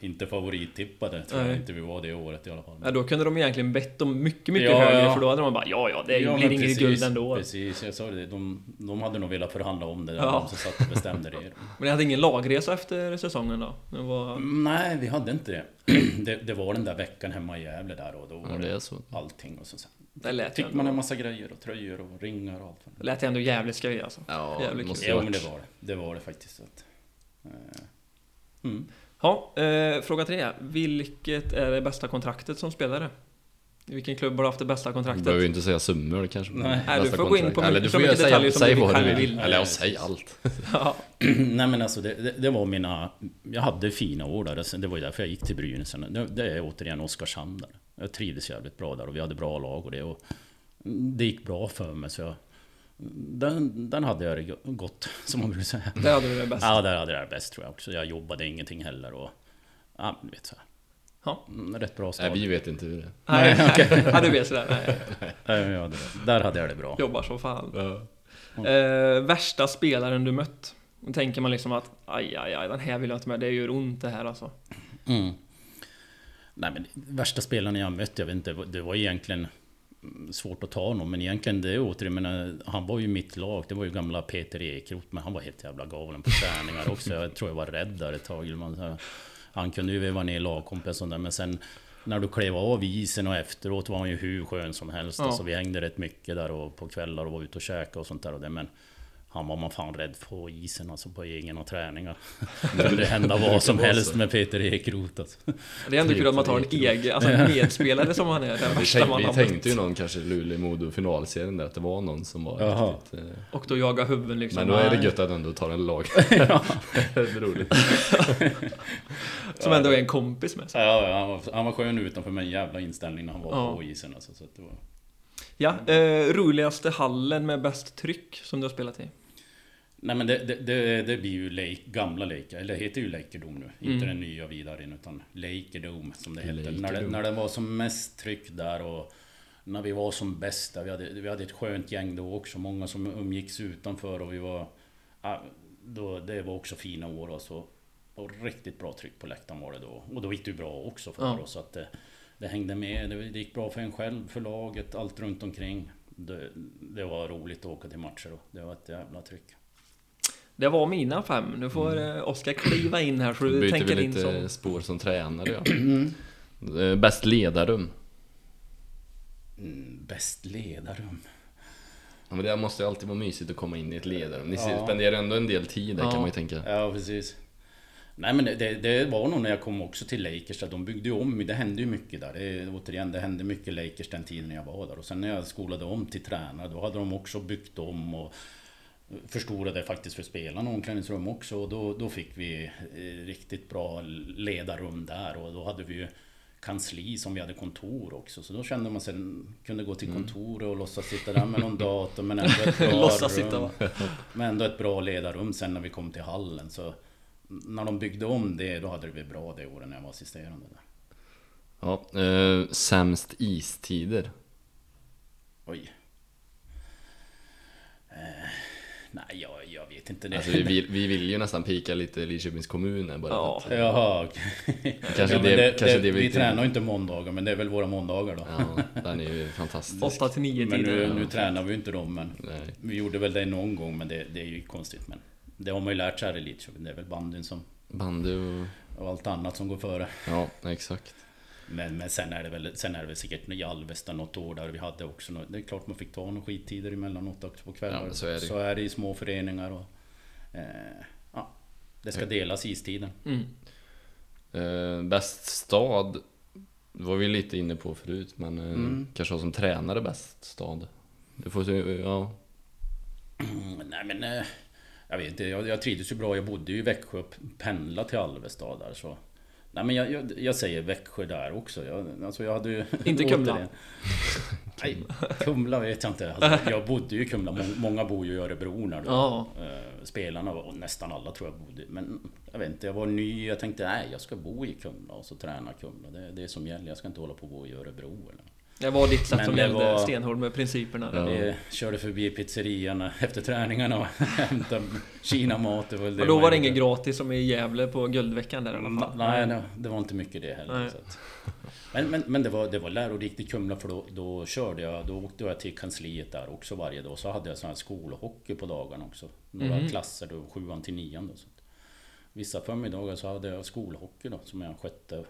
C: inte favorittippade, tror jag
B: Nej.
C: inte vi var det året i alla fall.
B: ja, då kunde de egentligen bett om mycket, mycket
C: Ja,
B: högre
C: ja.
B: för då hade de bara ja, ja, det
C: Ja,
B: blir
C: men
B: inget guld ändå.
C: Precis, jag sa det, de, de hade nog velat förhandla om det där,
B: Ja.
C: de som satt och
B: [LAUGHS]
C: bestämde det.
B: Men ni hade ingen lagresa efter säsongen då? Det var...
C: Nej, vi hade inte det. [CLEARS THROAT] det. Det var den där veckan hemma i Gävle där och då var
A: Ja, det
C: det
A: är så.
C: allting och så sen.
B: Det lät ju
C: Fick man en
B: ändå,
C: massa grejer och tröjor och ringar och allt. vad det
B: det lät ju ändå jävligt skoj alltså.
A: Ja,
B: Jävligt
A: det
B: kul.
A: måste
C: var. Jo
A: jag
C: men det var det. Det var det faktiskt. Så att, eh, mm. [CLEARS THROAT]
B: Ja, eh, fråga tre. Vilket är det bästa kontraktet som spelare? I vilken klubb har du haft det bästa
A: Du
B: kontraktet?
A: behöver ju inte säga summor kanske.
C: Nej.
B: Nej, du
A: Nästa
B: får gå in
A: kontrakt.
B: på mycket-
A: Eller du
B: så
A: får
B: mycket
A: ju
B: detaljer
A: säga,
B: som
A: säg
B: du
A: vad du
B: själv
A: vill.
B: vill.
A: Eller ja, säg allt.
B: [LAUGHS] ja,
C: Nej men alltså det, det, det var mina... Jag hade fina år där. Sen- Det var ju därför jag gick till Brynäs. sen. Det, det är återigen Oskarshamn där. Jag trivdes jävligt bra där och vi hade bra lag och det. Och det gick bra för mig så jag... Den, den hade jag det gott, [LAUGHS] som man brukar säga.
B: det hade du det bästa.
C: Ja, där hade jag det bäst tror jag också. Jag jobbade ingenting heller och... Ja, men du vet så här.
B: Ja.
C: Mm, Rätt bra stad.
A: Nej, vi vet inte hur det är.
B: Nej, ja, du vet sådär. Nej,
C: Ja, jag hade det. Där hade jag det bra.
B: jobbar som fan. Eh, värsta spelaren du mött? Då tänker man liksom att aj, aj, aj, den här vill jag inte med. Det gör ont det här alltså.
C: Mm. Nej men värsta spelarna jag mött, jag vet inte, det var egentligen mm, svårt att ta någon. Men egentligen det är återigen, men han var ju mitt lag. Det var ju gamla Peter Ekroth, men han var helt jävla galen på träningar också. Jag tror jag var rädd där ett tag. Man, så här, han kunde ju veva ner lagkompisen där, men sen när du klev av isen och efteråt var han ju hur skön som helst.
B: Ja.
C: Alltså, vi hängde rätt mycket där och på kvällar och var ute och käkade och sånt där. Och det, men han var man fan rädd på isen, alltså på egna [LAUGHS] träningar. Det kunde hända vad som helst med Peter Ekroth. Alltså.
B: Det är ändå kul att man tar en egen, alltså en medspelare som han är. Den
A: Vi,
B: värsta
A: tänk,
B: man
A: vi
B: har
A: tänkte ju
B: mött.
A: någon kanske Luleå-Modo finalserien där, att det var någon som var
C: Jaha.
A: riktigt... eh,
B: Och då jagar huvuden liksom.
A: Men då är det gött att ändå ta en
C: [LAUGHS]
A: lag. [LAUGHS] det är roligt.
B: Som ändå är en kompis med. sig.
C: Ja, ja, han, var, han var skön utanför men jävla inställning när han var
B: Ja.
C: på isen alltså, så att det var...
B: Ja, eh, roligaste hallen med bäst tryck som du har spelat i?
C: Nej men det, det, det, det blir ju Lake, gamla Lake, eller det heter ju Lakerdom nu. Inte den nya vidare utan Lakerdom som det hette. När det,
A: Lakerdome.
C: när det var som mest tryck där och när vi var som bäst där. Vi hade, vi hade ett skönt gäng då också. Många som umgicks utanför och vi var... ja, Då, det var också fina år alltså. Och riktigt bra tryck på läktaren var det då. Och då gick det ju bra också för
B: Ja.
C: oss. Så att det, det hängde med. Det, det gick bra för en själv, för laget, allt runt omkring. Det, det var roligt att åka till matcher då. Det var ett jävla tryck.
B: Det var mina fem. Nu får eh, Oskar kliva in här så
A: Då
B: du
A: byter vi
B: tänker in som...
A: lite spår som tränare ja. Eh, Bäst ledarrum.
C: Mm, bäst ledarrum.
A: Ja, men det måste ju alltid vara mysigt att komma in i ett ledarrum. Ni
C: Ja.
A: spenderar ändå en del tid där
B: Ja.
A: kan man ju tänka.
C: Ja, precis. Nej men det, det var nog när jag kom också till Lakers, att de byggde ju om, det hände ju mycket där. Det, återigen, det hände mycket Lakers den tiden jag var där. Och sen när jag skolade om till tränare, då hade de också byggt om och förstorade faktiskt för spelarna omklädningsrum också. Och då, då fick vi eh, riktigt bra ledarrum där och då hade vi ju kansli som vi hade kontor också. Så då kände man sig, kunde gå till kontoret och låtsas sitta där med någon dator men ändå ett bra
B: Låtsas sitta,
C: rum.
B: va?
C: Men ändå ett bra ledarrum sen när vi kom till hallen. Så när de byggde om det, då hade det blivit bra det året när jag var assisterande där.
A: Ja, eh, sämst istider.
C: Oj. Eh, nej, jag, jag vet inte det.
A: Alltså, vi, vill, vi vill ju nästan pika lite Lidköpings kommun här bara
B: Ja.
A: för att,
C: Jaha, okej. [LAUGHS]
A: Kanske det-
C: men
A: kanske det vi
C: vi
A: tänkte.
C: tränar ju inte måndagar, men det är väl våra måndagar då.
A: ja, den är ju fantastisk.
B: 8 till 9
C: men
B: tiden.
C: nu, nu tränar vi ju inte dem, men
A: Nej.
C: vi gjorde väl det någon gång, men det, det är ju konstigt. Men det har man ju lärt sig här i Lidköping. Det är väl bandyn som,
A: Bandy och...
C: och allt annat som går före.
A: Ja, exakt.
C: Men, men sen, är det väl, sen är det väl säkert i Alvesta något år där vi hade också något, Det är klart man fick ta några skittider emellanåt också på kvällar.
A: Ja, men så är det.
C: så är det i små föreningar och... Eh, ja, det ska delas istiden.
B: Mm.
A: Eh, bäst stad var vi lite inne på förut, men eh,
C: Mm.
A: kanske ha som tränare bäst stad. Du får se, ja.
C: Mm, Nej men... eh, Jag vet inte, jag, jag trivdes ju bra. Jag bodde ju i Växjö och pendlade till Alvesta där så... Nej men jag, jag, jag säger Växjö där också. Jag, alltså jag hade ju...
B: Inte Kumla.
C: [LAUGHS]
B: [LAUGHS]
C: återigen- Nej, Kumla vet jag inte. Alltså, jag bodde ju i Kumla. Mång- Många bor ju i Örebro när du...
B: Ja.
C: Eh, Spelarna, var- och nästan alla tror jag bodde... Men jag vet inte, jag var ny. Jag tänkte nej, jag ska bo i Kumla och så träna i Kumla. Det, det är som gäller. Jag ska inte hålla på och bo i Örebro eller...
B: Det var ditt sätt
C: Men
B: som
C: det
B: gällde
C: var-
B: stenhård med principerna.
A: Ja.
B: Ja.
C: Vi körde förbi pizzerian efter träningarna och [LAUGHS] hämtade kinamat. Det var väl det
B: Och då
C: man
B: var det
C: gjorde.
B: inget gratis som i Gävle på guldveckan där i alla fall.
C: Nej, nej, det var inte mycket det heller.
B: Nej.
C: Så att. Men, men, men det, var, det var lärorikt i Kumla för då, då körde jag, då åkte jag till kansliet där också varje dag. Så hade jag sån här skolhockey på dagarna också. Några
B: Mhm.
C: klasser då, sjuan till nian då. Så att. Vissa förmiddagar så hade jag skolhockey då som jag skötte.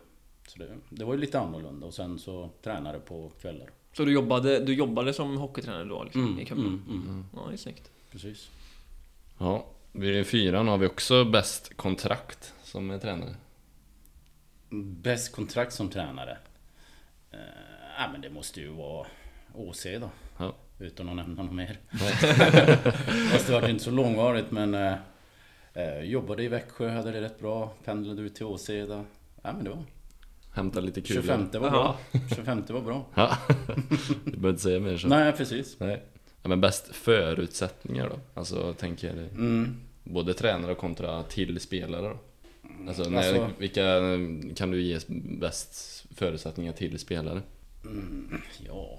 C: Så det, det var ju lite annorlunda och sen så tränade jag på kvällar.
B: Så du jobbade, du jobbade som hockeytränare då liksom, i Kumla?
C: mm, mm,
B: Ja, det är snyggt.
C: precis.
A: ja. Vid fyran har vi också bäst kontrakt som är tränare.
C: Bäst kontrakt som tränare? Uh, ja, men det måste ju vara OC då.
A: Ja.
C: Utan att nämna något mer. [LAUGHS] Fast det var inte så långvarigt men... eh, eh, jobbade i Växjö, hade det rätt bra. Pendlade ut till Åseda. Ja men det var...
A: Hämta lite kul.
C: 25 var
B: Jaha.
C: bra. 25
A: [LAUGHS]
C: var bra.
A: Ja. Du behöver inte säga mer så.
C: Nej precis.
A: Nej. Ja, men bäst förutsättningar då? Alltså tänker jag
C: Mm.
A: både tränare kontra till spelare då? Alltså, när,
C: alltså-
A: vilka eh, kan du ge bäst förutsättningar till spelare?
C: Mm. Ja.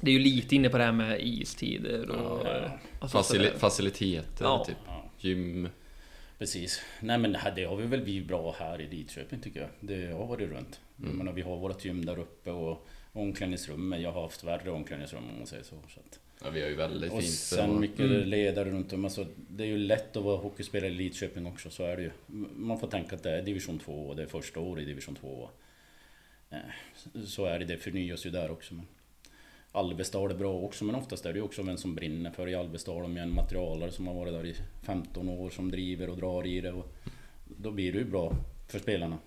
B: Det är ju lite inne på det här med istider och...
C: Ja.
B: alltså,
A: Facili
B: sådär.
A: faciliteter
B: Ja.
A: typ?
C: Ja.
A: Gym?
C: Precis. Nej men det, här, det har vi väl vi bra här i Lidköping tycker jag. Det har varit runt. Jag menar, vi har vårt gym där uppe och omklädningsrummet. Jag har haft värre omklädningsrum om man säger så. så att.
A: Ja, vi har ju väldigt
C: Och
A: fint.
C: sen
A: och- Mm.
C: mycket ledare runt om. Alltså, det är ju lätt att vara hockeyspelare i Lidköping också, så är det ju. M- Man får tänka att det är division 2 och det är första året i division 2. Eh, s- Så är det, det förnyas ju där också. Men Alvesta har det bra också, men oftast är det ju också vem som brinner för. I Alvesta har de ju en materialare som har varit där i 15 år som driver och drar i det. Och då blir det ju bra för spelarna.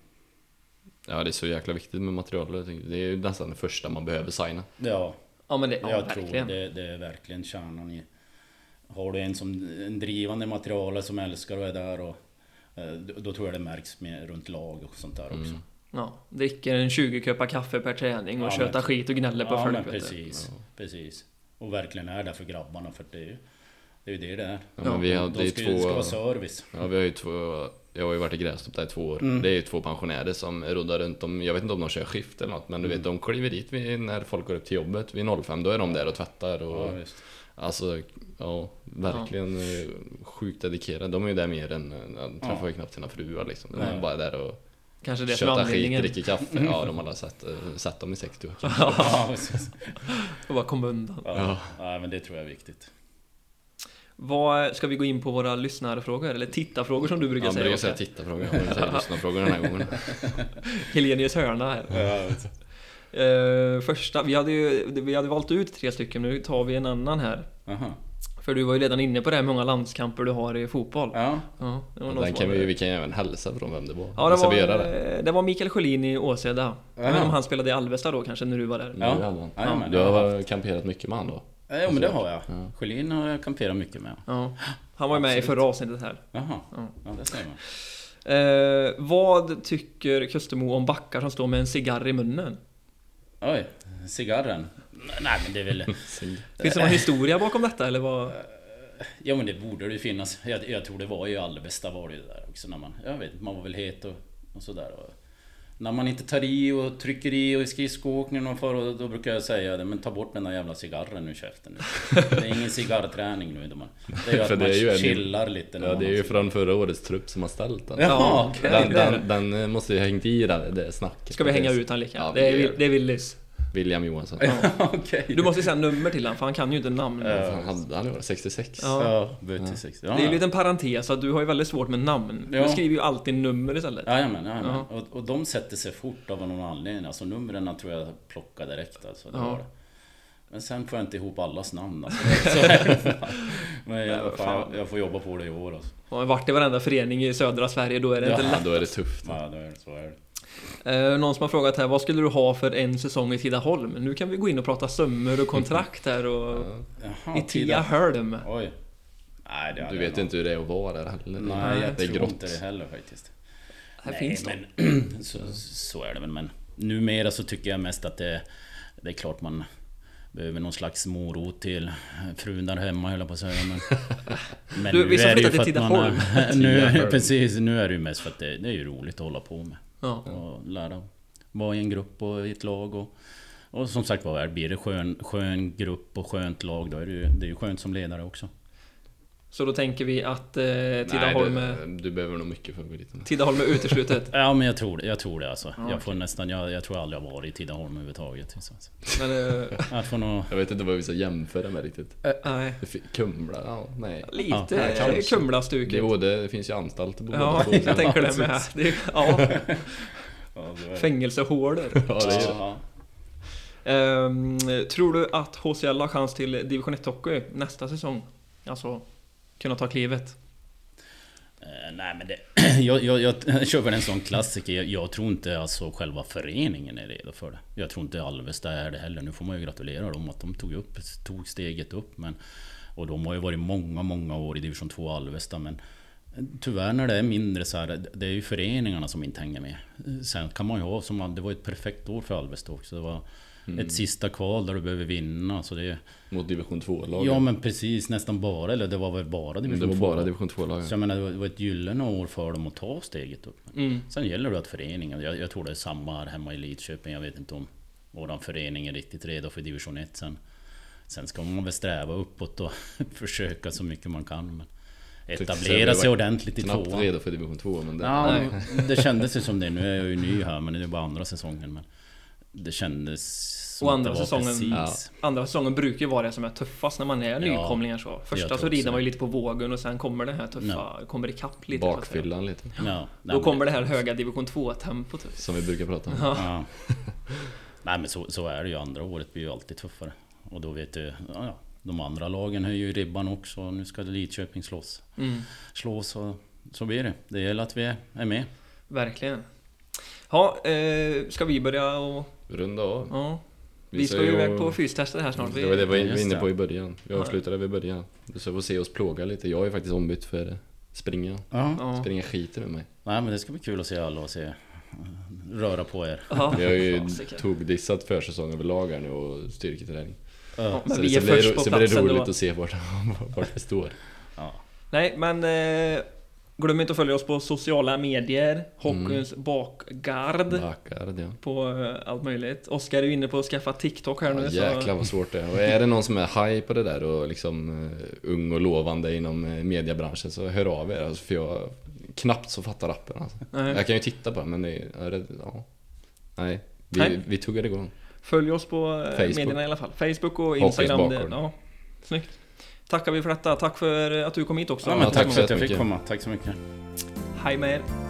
A: Ja, det är så jäkla viktigt med material. jag tänker. Det är ju nästan det första man behöver signa.
C: Ja,
B: Ja men det... Ja,
C: jag tror
B: verkligen.
C: det, det är verkligen kärnan i... Har du en som en drivande materialare som älskar och är där och... eh, Då då tror jag det märks med, runt lag och sånt där också.
B: Ja, dricker en 20 koppar kaffe per träning och
C: Ja,
B: tjötar
C: men-
B: skit och gnäller på
C: ja,
B: folk.
C: men
B: vet du.
C: precis, precis. Och verkligen är där för grabbarna för det är ju... Det är ju det det är.
A: Ja, men vi hade
C: De
A: ju
C: ska, ju- det ska
A: två...
C: vara service.
A: Ja, vi har ju två... Jag har ju varit i Grästorp där i två år.
B: Mm.
A: Det är ju två pensionärer som roddar runt om. Jag vet inte om de kör skift eller något, men du
B: Mm.
A: vet, de kliver dit vid, när folk går upp till jobbet vid 05. Då är de där och tvättar och...
C: Ja, just.
A: Alltså, ja, verkligen eh, sjukt dedikerade. De är ju där mer än... De träffar ju knappt sina fruar liksom. De är bara där och
B: Kanske det som är Mm.
A: tjötar skit,
B: anledningen.
A: dricker kaffe. Ja, de har alla sett, eh, sett dem i 60 år. kanske.
C: [LAUGHS] ja, precis.
B: [LAUGHS] Och bara komma undan.
A: Ja.
C: Ja. ja, men det tror jag är viktigt.
B: Vad, ska vi gå in på våra lyssnarfrågor? Eller tittarfrågor som du brukar
A: Ja,
B: säga?
A: brukar säga tittarfrågor. Jag
B: [LAUGHS]
A: brukar säga lyssnarfrågor den här gången.
B: Helenius hörna här.
C: Ja, just.
B: Eh, första, vi hade ju vi hade valt ut tre stycken, nu tar vi en annan här.
C: Aha.
B: För du var ju redan inne på det här med många landskamper du har i fotboll. Ja,
C: Ja.
B: det var någon
A: Den
B: som
A: kan
B: var-
A: vi, vi kan ju även hälsa från vem det var.
B: Ja, det
A: Ska
B: var,
A: vi göra det?
B: eh, det var Mikael Sjölin i Åseda. Jag vet inte
C: Ja.
B: om han spelade i Alvesta då kanske, när du var där.
A: Nu
C: Ja.
A: hade han.
C: Ja, men
A: du
C: det har jag
A: har kamperat mycket med han då?
C: Ja, men det har jag. Sjölin har jag kamperat mycket med.
B: Ja. Han var ju med i förra avsnittet här.
C: Jaha.
B: Ja.
C: Ja, det ser man.
B: Eh, vad tycker Kustermo om backar som står med en cigarr i munnen?
C: Oj, cigarren. Nej men det är väl...
B: Finns det någon historia bakom detta eller vad?
C: Ja men det borde det ju finnas. Jag, jag tror det var i Alvesta var det ju där också när man... Jag vet inte, man var väl het och, och sådär. Och, när man inte tar i och trycker i och i skridskoåkningen och för, och då brukar jag säga det, men ta bort den där jävla cigarren ur käften nu. Det är ingen cigarrträning nu. utan Man, det är
A: [LAUGHS] För
C: ju att
A: det
C: man
A: är ju en-
C: chillar lite. när
A: Ja,
C: man
A: det är
C: har
A: ju
C: [LAUGHS] cig-
A: från förra årets trupp som har ställt den.
C: Jaha,
B: Ja,
C: okej.
A: Den, den, den eh, måste ju ha hängt i det, det snacket.
B: Ska vi hänga ut han lika?
A: Ja,
B: det, är,
A: vi gör
B: Will- det är Willys.
A: William Johansson.
C: [LAUGHS] Okej.
B: Du måste säga nummer till han för han kan ju inte namn.
A: Vad fan hade han i år? 66?
B: Ja.
C: Ja, böter till 60. Ja,
B: Det är ju
C: ja.
B: en liten parentes, så att du har ju väldigt svårt med namn.
C: Ja.
B: Du skriver ju alltid nummer istället.
C: Jajamän, jajamän.
B: Ja.
C: Och, och de sätter sig fort av någon anledning. Alltså numren tror jag plockade direkt alltså. Det
B: Ja.
C: var det. Men sen får jag inte ihop allas namn [LAUGHS] alltså. Så är det. Men jag, fan, jag får jobba på det i år alltså.
B: Har man varit i varenda förening i södra Sverige, då är det inte
A: Ja,
B: lätt.
A: då är det tufft.
C: Ja, det är, så är det.
B: Eh, någon som har frågat här, vad skulle du ha för en säsong i Tidaholm? Nu kan vi gå in och prata sömmor och kontrakt här och...
C: Jaha,
B: I Tidaholm.
C: Oj. Nej, det hade
A: Du
C: jag
A: vet
C: nog-
A: inte hur det är att vara där heller.
C: Nej, jag
A: det är
C: tror
A: grått.
C: inte det heller faktiskt.
B: Här
C: Nej,
B: finns de.
C: men, [CLEARS THROAT] så, så är det väl men Numera så tycker jag mest att det Det är klart man Behöver någon slags morot till frun där hemma höll jag på att säga
B: [LAUGHS]
C: men... men
B: Du,
C: nu
B: vi ska
C: är det ju
B: flytta
C: för
B: till
C: att man-
A: Tidaholm.
C: [LAUGHS] nu,
A: Tidaholm.
C: Precis, nu är det ju mest för att det, det är ju roligt att hålla på med
B: Ja.
C: Och lära Vara i en grupp och i ett lag och och som sagt var, blir det skön, skön grupp och skönt lag då är det ju, det är ju skönt som ledare också.
B: Så då tänker vi att eh, Tidaholm,
A: Nej,
B: är,
A: du, du behöver nog mycket för favoriterna.
B: Tidaholm är
C: [LAUGHS]
B: uteslutet.
C: Ja men jag tror det, jag tror det alltså. jag får nästan, jag, jag tror aldrig jag har varit i Tidaholm överhuvudtaget. Så. att-
B: Men... Eh,
C: Jag får nog...
A: Jag vet inte vad vi ska jämföra med riktigt.
B: nej.
A: Det fi- Kumla? Ja, nej.
B: Lite
A: Ja, kanske.
B: eh,
A: Det, är
B: Kumla-stuket.
A: både, det finns ju anstalter på båda
B: Ja,
A: två.
B: jag tänker det med. Det är, ja,
C: Ja, det är-
B: fängelsehålor.
A: Ja, det är det.
C: Ja,
B: Ehm, tror du att HCL har chans till Division 1 Hockey nästa säsong? Alltså, kunna ta klivet?
C: Eh, Nej men det, [CLEARS THROAT] jag, jag, jag kör väl en sån klassiker. Jag, jag tror inte alltså själva föreningen är redo för det. Jag tror inte Alvesta är det heller. Nu får man ju gratulera dem att de tog, upp, tog steget upp. Men, och de har ju varit många, många år i division 2 Alvesta. Men tyvärr när det är mindre så här, det- det är ju föreningarna som inte hänger med. Sen kan man ju ha som, det var ett perfekt år för Alvesta också. Det var
A: Mm.
C: ett sista kval där du behöver vinna. Så det,
A: Mot division 2-lagen.
C: ja men precis, nästan bara, eller det var väl bara
A: det
C: division
A: var
C: 2.
A: bara division
C: Så
A: 2-lagen.
C: jag menar, det var- det var ett gyllene år för dem att ta steget upp.
B: Mm.
C: Sen gäller det att föreningen, jag, jag tror det är samma här hemma i Lidköping, jag vet inte om våran förening är riktigt redo för division 1 sen. Sen ska man väl sträva uppåt och [LAUGHS] försöka så mycket man kan. Men
A: Tyckte
C: etablera
A: jag
C: sig
A: var
C: ordentligt i
A: Knappt
C: tvåan.
A: redo för division 2, men det...
C: Ja, det kändes ju som det. Nu är jag ju ny här, men det är bara andra säsongen. Men det kändes som
B: Och
C: att
B: andra
C: det var
B: säsongen-
C: precis.
A: Ja.
B: Andra säsongen brukar ju vara det som är tuffast när man är
C: Ja,
B: nykomlingar så. Första
C: tror
B: så rider
C: också
B: man ju lite på vågen och sen kommer det här tuffa, kommer ikapp lite. så att säga.
A: Bakfyllan lite.
C: Ja, nej,
B: Då
C: men-
B: kommer det här höga division 2-tempot. typ.
A: Som vi brukar prata om.
C: Ja. [LAUGHS] Nej men så, så är det ju, andra året blir ju alltid tuffare. Och då vet du, ja, ja, de andra lagen höjer ju ribban också. Nu ska Lidköping slås.
B: Mm,
C: Slås och så blir det. Det gäller att vi är är med.
B: verkligen. Ja, eh, ska vi börja och...
A: Runda av.
B: Ja. Vi,
A: Vi
B: ska
A: ska
B: ju
A: ju-
B: iväg på fystester här snart.
A: Det var det vi
B: Vi,
A: var
C: Just
A: inne
C: det.
A: på i början. Vi avslutade vid början. Så vi får se oss plåga lite. Jag är faktiskt ombytt för springa.
C: Ja.
B: ja.
A: Springa skiter ur mig.
C: Nej men det ska bli kul att se alla och se eh, röra på er.
B: Ja.
A: Vi har ju
B: Fasiken.
A: togdissat försäsong överlag här nu och styrketräning.
B: Ja,
C: Ja.
B: men
A: Så
B: vi
A: det-
B: är
A: så blir det
B: först
A: ro-
B: på
A: Så blir det
B: platsen
A: roligt
B: då.
A: att se vart, vart [LAUGHS] vi står.
B: Nej, men eh, glöm inte att följa oss på sociala medier. Hockeyns bakgard.
A: Backard, ja.
B: På eh, allt möjligt. Oskar är ju inne på att skaffa TikTok här nu.
A: Ja,
B: så-
A: jäklar vad svårt det är. Och är det någon som är high på det där och liksom eh, ung och lovande inom eh, mediebranschen så hör av er. Alltså, för jag knappt så fattar appen alltså.
B: Nej.
A: Jag kan ju titta på den men det är, ja, det- ja. Nej. Vi,
B: Nej.
A: vi tuggar igång.
B: Följ oss på eh,
A: Facebook.
B: medierna i alla fall. Facebook och Instagram. Det,
A: Hockeyns bakgård.
B: ja. Snyggt. Tackar vi för detta. Tack för att du kom hit också.
C: Ja, men
A: tack
C: tack
A: så
C: för att jag fick
A: jättemycket.
C: komma. Tack så mycket.
B: Hej med er.